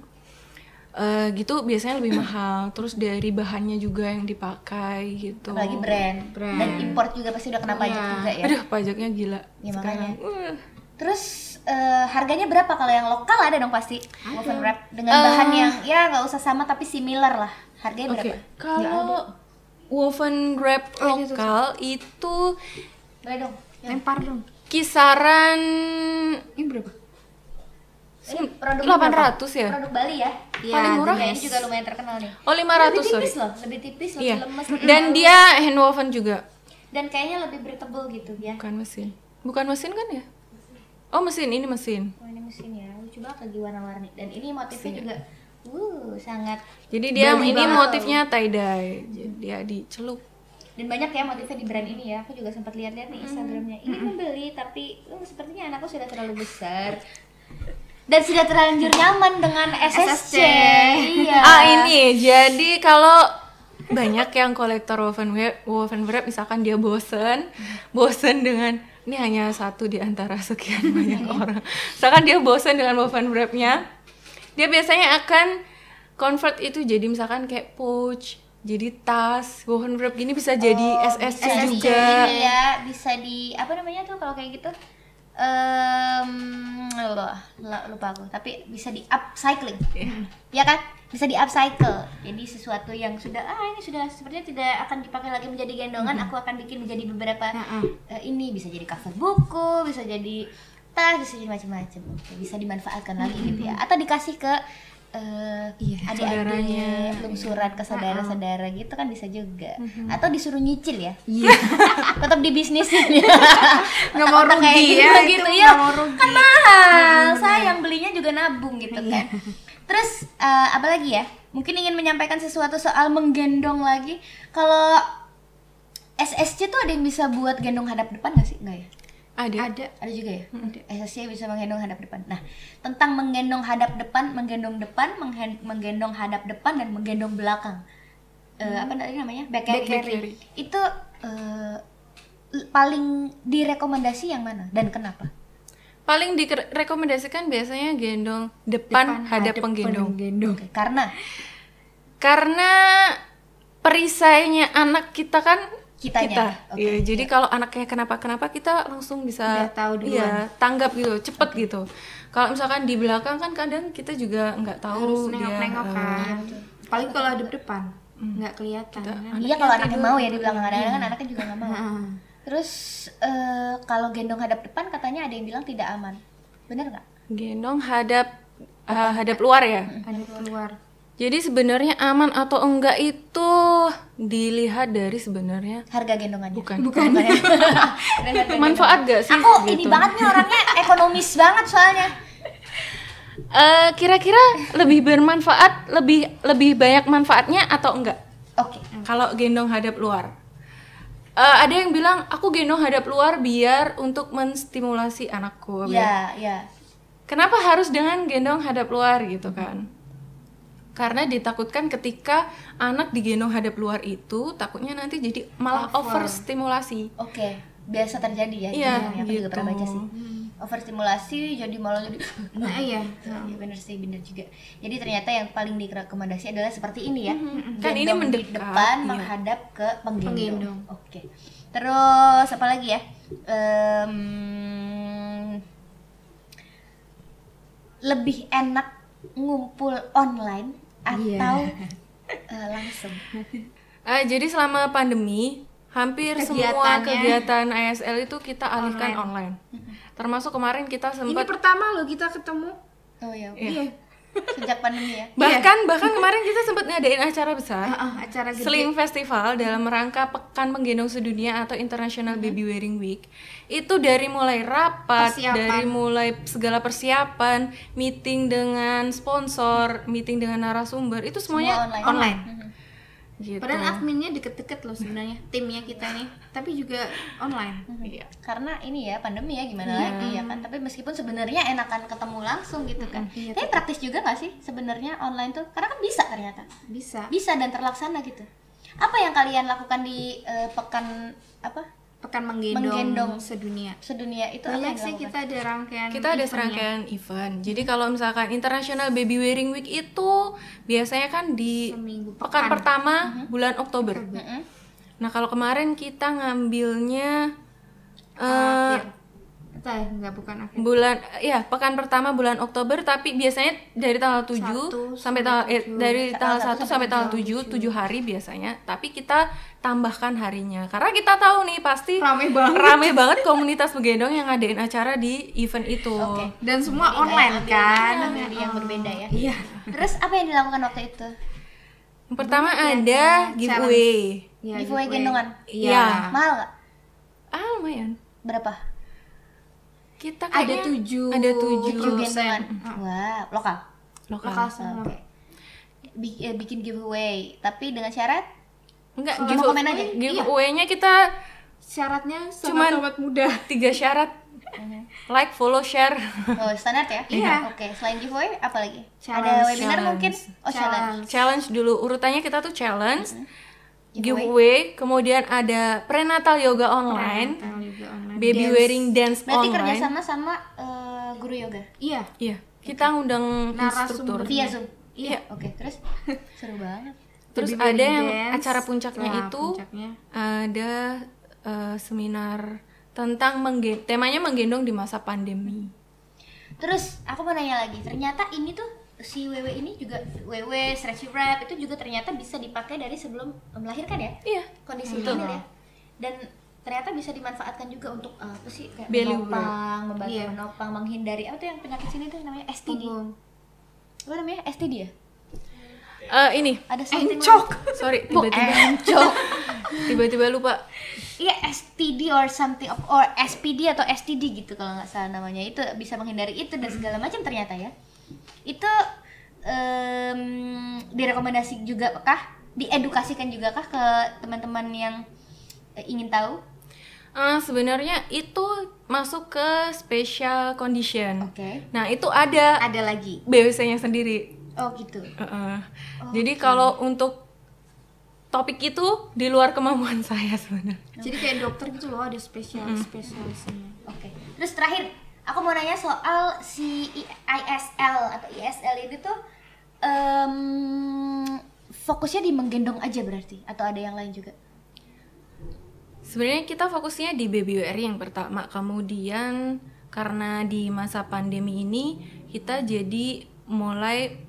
B: Eh, gitu biasanya lebih mahal. Terus dari bahannya juga yang dipakai gitu.
A: Apalagi brand.
C: Brand.
A: Dan import juga pasti udah kena pajak
C: Iya.
A: juga ya.
B: Aduh, pajaknya gila.
A: Ya,
B: sekarang. Uh.
A: Terus eh, harganya berapa kalau yang lokal ada dong pasti woven wrap dengan bahan
B: Eh.
A: yang ya nggak usah sama tapi similar lah. Harganya
B: Oke,
A: berapa? Ya.
B: kalau woven wrap lokal itu
A: Boleh dong.
C: Lempar dong.
B: kisaran
C: Ini berapa?
A: Ini produk
B: 800 ya?
A: Produk Bali ya.
C: Iya,
B: Paling murah?
A: Nah, ini juga lumayan terkenal nih.
B: Oh, 500,
A: lebih
B: sorry.
A: tipis loh, lebih tipis, lebih
B: Iya.
A: lemes.
B: Dan dia hand woven juga,
A: dan kayaknya lebih breathable gitu ya
B: bukan mesin. Bukan mesin kan ya? Oh, mesin, ini mesin.
A: oh, ini mesin ya lucu banget lagi warna-warni dan ini motifnya juga uh sangat
B: Jadi dia
A: Bali
B: ini
A: banget.
B: motifnya tie dye. Jadi dia dicelup.
A: dan banyak ya motifnya di brand ini ya aku juga sempat lihat-lihat nih instagramnya ini membeli tapi uh, sepertinya anakku sudah terlalu besar dan sudah terlanjur nyaman dengan SSC,
C: SSC.
A: iya
B: Ah, ini. Jadi kalau banyak yang kolektor woven wrap, woven wrap misalkan dia bosen, bosen dengan ini hanya satu di antara sekian banyak orang. Misalkan dia bosan dengan woven wrapnya, dia biasanya akan convert itu jadi misalkan kayak pouch, jadi tas, woven wrap gini bisa jadi SSC,
A: SSC
B: juga.
A: ya bisa di apa namanya tuh kalau kayak gitu Em, loh, lo- lupa aku tapi bisa di upcycling
B: Iya.
A: ya kan bisa di upcycle jadi sesuatu yang sudah ah ini sudah sepertinya tidak akan dipakai lagi menjadi gendongan aku akan bikin menjadi beberapa eh, ini bisa jadi cover buku bisa jadi tas bisa jadi macam-macam Oke, bisa dimanfaatkan lagi gitu ya atau dikasih ke eh,
B: Iya, saudaranya.
A: adik-adik lungsuran ke saudara-saudara gitu kan bisa juga atau disuruh nyicil ya tetap di bisnis
C: Nggak Iya. mau rugi ya, itu
A: gitu ya
C: nggak mau rugi. Iya.
A: kan mahal sayang belinya juga nabung gitu kan terus eh, apa lagi ya mungkin ingin menyampaikan sesuatu soal menggendong lagi kalau SSC tuh ada yang bisa buat gendong hadap depan gak sih? Enggak ya?
B: Ada. Ada.
A: Ada juga ya? SSC bisa menggendong hadap depan. Nah, tentang menggendong hadap depan, menggendong depan, menghen- menggendong hadap depan, dan menggendong belakang. Eh, apa tadi namanya? Back carry.
B: Back carry.
A: Itu eh, l- paling direkomendasi yang mana dan kenapa?
B: Paling direkomendasikan biasanya gendong depan, hadap penggendong.
A: Oke, karena
B: Karena perisainya anak kita kan
A: Kitanya.
B: kita.
A: Oke.
B: Iya, jadi kalau anaknya kenapa-kenapa kita langsung bisa
C: Udah tahu duluan.
B: Iya, tanggap gitu, cepet gitu. Kalau misalkan di belakang kan kadang kita juga nggak tahu
C: harus
B: dia
C: nengok-nengok
B: eh,
C: kan. Paling kalau hadap depan nggak kelihatan. kan?
A: iya kalau anaknya mau ya di belakang kadang kan anaknya juga nggak mau.
C: Heeh.
A: Terus eh, kalau gendong hadap depan katanya ada yang bilang tidak aman. Bener nggak?
B: gendong hadap eh, hadap luar ya.
C: Ada keluar.
B: Jadi sebenarnya aman atau enggak itu dilihat dari sebenarnya
A: Harga gendongannya.
B: bukan
A: Bukan ya? Dan harga
B: manfaat gak sih?
A: aku ini
B: gitu?
A: banget nih orangnya ekonomis banget soalnya
B: Eh, kira-kira lebih bermanfaat, lebih lebih banyak manfaatnya atau enggak?
A: oke
B: Kalau gendong hadap luar. Eh, ada yang bilang aku gendong hadap luar biar untuk menstimulasi anakku. biar-
C: Iya.
A: ya ya
B: Kenapa harus dengan gendong hadap luar gitu kan? Karena ditakutkan ketika anak digendong hadap luar itu takutnya nanti jadi malah overstimulasi.
A: oke biasa terjadi ya
B: Iya,
A: ini aku juga
B: gitu.
A: pernah baca sih overstimulasi jadi malah jadi
C: Nah, iya.
A: ya bener sih bener juga jadi ternyata yang paling direkomendasi adalah seperti ini ya
B: Kan ini
A: Gendong di
B: mendekat,
A: depan
B: iya.
A: menghadap ke penggendong,
C: Penggendong.
A: oke terus apa lagi ya Em, lebih enak ngumpul online atau eh, langsung
B: Eh, jadi selama pandemi hampir semua
C: Kegiatannya.
B: kegiatan ASL itu kita alihkan online. Termasuk kemarin kita
C: Ini
B: sempat
C: pertama loh kita ketemu.
A: oh ya
C: Iya.
A: sejak pandemi ya
B: bahkan bahkan kemarin kita sempat ngadain Ah, acara besar.
C: Heeh, acara gede.
B: Sling Festival dalam rangka Pekan Penggendong Sedunia atau International
C: Mm-hmm.
B: Baby Wearing Week itu dari mulai rapat,
C: Persiapan.
B: dari mulai segala persiapan, meeting dengan sponsor, meeting dengan narasumber itu
A: Semua
B: semuanya
A: online. Mm-hmm.
B: online. Gitu.
C: Padahal adminnya deket-deket loh sebenarnya timnya kita nih, tapi juga online.
B: Iya.
A: karena ini ya pandemi ya gimana
C: Iya.
A: lagi ya kan tapi meskipun sebenarnya enakan ketemu langsung gitu kan
C: Iya,
A: tapi praktis juga nggak sih sebenarnya online tuh karena kan bisa ternyata
C: Bisa.
A: bisa dan terlaksana gitu apa yang kalian lakukan di eh, pekan apa
C: Pekan menggendong,
A: Menggendong.
C: sedunia.
A: sedunia itu apa yang
C: Banyak Iya sih
A: dilakukan?
C: kita ada rangkaian.
B: Iya, Kita ada
C: eventnya.
B: serangkaian event. Jadi kalau misalkan International Baby Wearing Week itu biasanya kan di
C: Seminggu
B: pekan,
C: pekan. Mm-hmm.
B: pertama bulan Oktober.
A: Mm-mm.
B: Nah, kalau kemarin kita ngambilnya eh
C: Akhir. Entah ya, nggak Iya. bukan akhir.
B: bulan ya pekan pertama bulan Oktober tapi biasanya dari tanggal 7
C: Satu
B: sampai
C: sampai
B: tanggal eh,
C: tujuh.
B: dari tanggal 1 sampai tanggal 7 7 hari biasanya tapi kita tambahkan harinya karena kita tahu nih pasti
C: Rame banget.
B: rame banget komunitas menggendong yang ngadain acara di event itu
A: Oke.
C: Dan semua
B: Iya,
C: online kan.
A: Ambil yang berbeda ya
C: Iya.
A: terus apa yang dilakukan waktu itu
B: yang pertama ada giveaway
C: Ya,
A: giveaway
C: giveaway.
A: gendongan
B: Iya.
C: Iya.
A: mahal nggak
B: ah lumayan
A: berapa
B: kita
C: Ada
B: kayaknya
C: tujuh.
B: ada tujuh
A: Tujuh gendongan wah lokal
B: lokal,
C: Lokal semua.
A: oke Bi- eh, bikin giveaway tapi dengan syarat
B: enggak
A: Kalau
B: giveaway-
A: komen
C: Iya.
A: aja?
B: giveaway-nya kita
C: Syaratnya
B: Cuman-
C: sobat sobat muda.
B: tiga syarat like follow share
A: Oh, standar ya?
C: Iya.
A: Oke, selain giveaway apa lagi?
C: Challenge.
A: Ada webinar
B: Challenge.
A: mungkin? Oh, challenge.
B: challenge dulu urutannya kita tuh challenge giveaway, kemudian ada prenatal yoga online,
C: Tahu juga online.
B: baby
C: Nah, Dance.
B: wearing dance
A: Berarti
B: online.
A: kerjasama sama eh, guru yoga
C: Iya.
B: Iya, kita ngundang instruktur.
C: Narasumber.
A: via zoom.
B: Iya.
A: Oke, terus seru banget.
B: Terus
C: Baby
B: ada
C: wearing
B: yang
C: dance.
B: acara puncaknya
C: Wah,
B: itu
C: puncaknya.
B: ada eh, seminar tentang menggen temanya menggendong di masa pandemi.
A: Terus aku mau nanya lagi, ternyata ini tuh si WW ini juga WW stretchy wrap itu juga ternyata bisa dipakai dari sebelum melahirkan ya
B: Iya.
A: kondisi
C: Betul.
A: hamil ya dan ternyata bisa dimanfaatkan juga untuk eh, apa sih kayak
B: Belly
A: menopang, membantu
C: Iya.
A: menopang, menghindari apa tuh yang penyakit sini tuh namanya STD.
C: Punggung.
A: Apa namanya? STD ya?
B: Eh, ini,
A: Ada something
C: Encok.
B: sorry tiba-tiba
A: Encok.
B: tiba-tiba lupa.
A: Iya STD or something of- or SPD atau STD gitu kalau nggak salah namanya itu bisa menghindari itu dan segala macam ternyata ya itu em, direkomendasi juga kah diedukasikan juga kah ke teman-teman yang eh, ingin tahu
B: Eh, sebenarnya itu masuk ke special condition.
A: oke
B: Nah, itu ada
A: ada lagi
B: BWC-nya sendiri.
A: oh
B: Oh,
A: gitu
B: Heeh. Jadi kalau untuk topik itu di luar kemampuan saya sebenarnya.
C: Jadi kayak dokter gitu loh ada spesial
B: Mm.
C: spesialisnya.
A: oke terus terakhir aku mau nanya soal si I- ISL atau ISL ini tuh em, fokusnya di menggendong aja berarti atau ada yang lain juga
B: Sebenarnya kita fokusnya di baby wearing yang pertama, kemudian karena di masa pandemi ini kita jadi mulai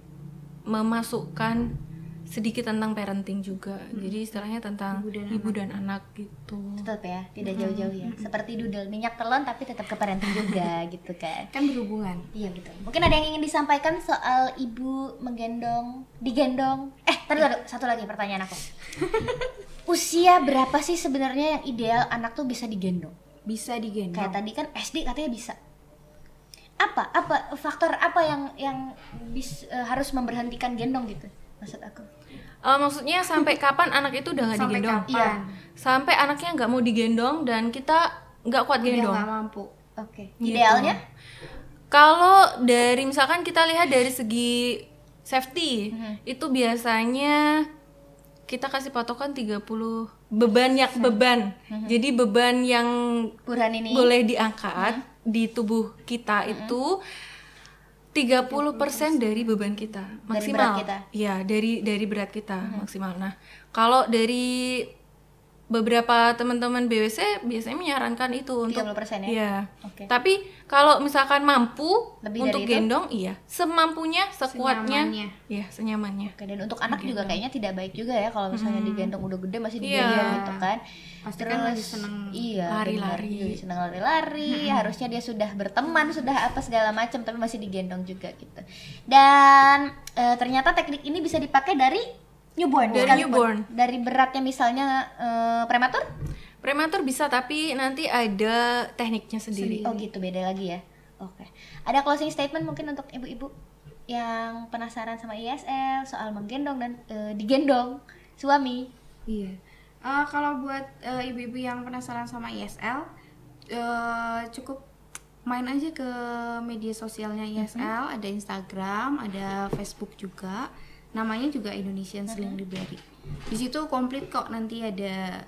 B: memasukkan sedikit tentang parenting juga. Jadi istilahnya tentang Hmm. ibu dan, anak. gitu.
A: Tetap ya, tidak jauh-jauh ya. Seperti doodle minyak telon tapi tetap ke parenting juga gitu kan.
C: Kan berhubungan.
A: Iya betul. Mungkin ada yang ingin disampaikan soal ibu menggendong, digendong. Eh, tadi ada satu lagi pertanyaan aku. Usia berapa sih sebenarnya yang ideal anak tuh bisa digendong?
C: Bisa digendong.
A: Kayak
B: Iya.
A: tadi kan SD katanya bisa. Apa? Apa faktor apa yang yang bis- eh, harus memberhentikan gendong gitu? Maksud aku.
B: Eh, maksudnya sampai kapan anak itu udah nggak
C: Sampai
B: digendong?
C: kapan?
A: Iya.
B: Sampai anaknya nggak mau digendong dan kita Iya, nggak kuat
C: Dia
B: gendong.
C: nggak mampu.
A: Oke.
B: Gitu.
A: Idealnya?
B: Kalau dari misalkan kita lihat dari segi safety,
A: Mm-hmm.
B: itu biasanya kita kasih patokan 30 beban yang beban.
A: Mm-hmm.
B: Jadi beban yang
A: Burhan ini.
B: boleh diangkat
A: Mm-hmm.
B: di tubuh kita itu 30% dari beban kita maksimal.
A: berat kita. Mm-hmm.
B: Iya, dari dari berat kita maksimal. Nah, kalau dari beberapa teman-teman BWC biasanya menyarankan itu untuk
A: 30% ya?
B: Iya.
A: Oke.
B: Tapi kalau misalkan mampu
A: Lebih
B: untuk
A: dari itu?
B: gendong, iya, semampunya, sekuatnya,
C: Senyamannya.
B: iya, senyamannya.
A: Oke, dan untuk anak juga kayaknya tidak baik juga ya kalau misalnya digendong udah gede masih digendong
B: Iya.
A: gitu kan.
C: Pasti kan lagi seneng
A: iya,
B: lari-lari.
A: benar. Jadi seneng lari-lari, harusnya dia sudah berteman, sudah apa segala macam tapi masih digendong juga gitu. Dan eh, ternyata teknik ini bisa dipakai dari newborn
B: Dari
A: sekalipun.
B: newborn.
A: Dari beratnya misalnya eh, prematur?
B: Prematur bisa tapi nanti ada tekniknya sendiri.
A: Oh, gitu beda lagi ya. Oke. Ada closing statement mungkin untuk ibu-ibu yang penasaran sama ISL, soal menggendong dan eh, digendong suami.
C: Iya. Eh, kalau buat eh, ibu-ibu yang penasaran sama ISL, eh, cukup main aja ke media sosialnya
A: Mhm.
C: ISL. Ada Instagram, ada Facebook juga. Namanya juga Indonesian
A: Mhm.
C: Sling Library. Di situ komplit kok. Nanti ada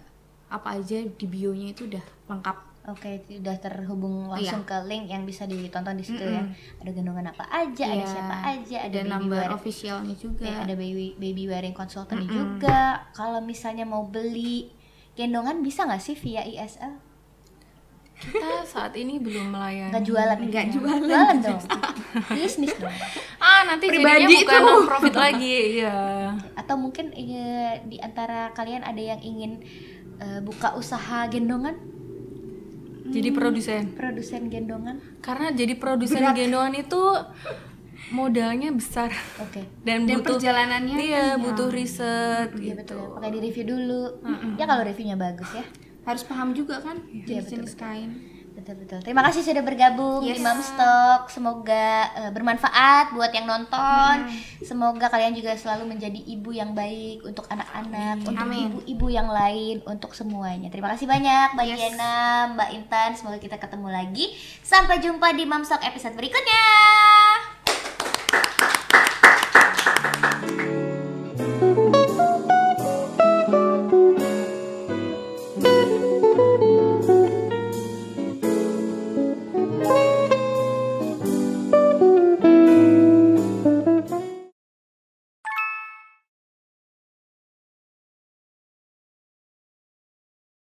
C: apa aja di bio-nya itu udah lengkap.
A: Oke, sudah terhubung langsung ke link yang bisa ditonton di situ ya. Ada gendongan apa aja, Ya, ada
C: Iya.
A: siapa aja, ada,
C: ada
A: baby
C: number
A: wearing-
C: officialnya juga.
A: eh, ada baby baby wearing consultant juga. Kalau misalnya mau beli gendongan bisa nggak sih via ISL?
B: Kita saat ini belum melayani.
A: Nggak jualan, nggak jualan, jualan dong. Bisnis dong.
B: Ah, nanti
C: Pribadi
B: jadinya bukan
C: itu.
B: non profit lagi, iya.
A: Atau mungkin eh, di antara kalian ada yang ingin eh, buka usaha gendongan, Hmm.
B: Jadi produsen.
A: produsen gendongan?
B: Karena jadi produsen gendongan itu modalnya besar
A: Oke.
B: dan,
C: Dan
B: butuh
C: perjalanannya
B: iya, butuh riset
A: kan, Iya
B: gitu.
A: betul. Pakai di review dulu. Ya kalau reviewnya bagus ya.
C: Harus paham juga kan
A: Iya,
C: jenis-jenis kain.
A: Betul betul. Terima kasih sudah bergabung di Moms Talk. Semoga eh, bermanfaat buat yang nonton.
C: Mm-hmm.
A: Semoga kalian juga selalu menjadi ibu yang baik untuk anak-anak, untuk
C: Amin.
A: ibu-ibu yang lain, untuk semuanya. Terima kasih banyak Mbak
C: Yes.
A: Yena, Mbak Intan. Semoga kita ketemu lagi. Sampai jumpa di Moms Talk episode berikutnya.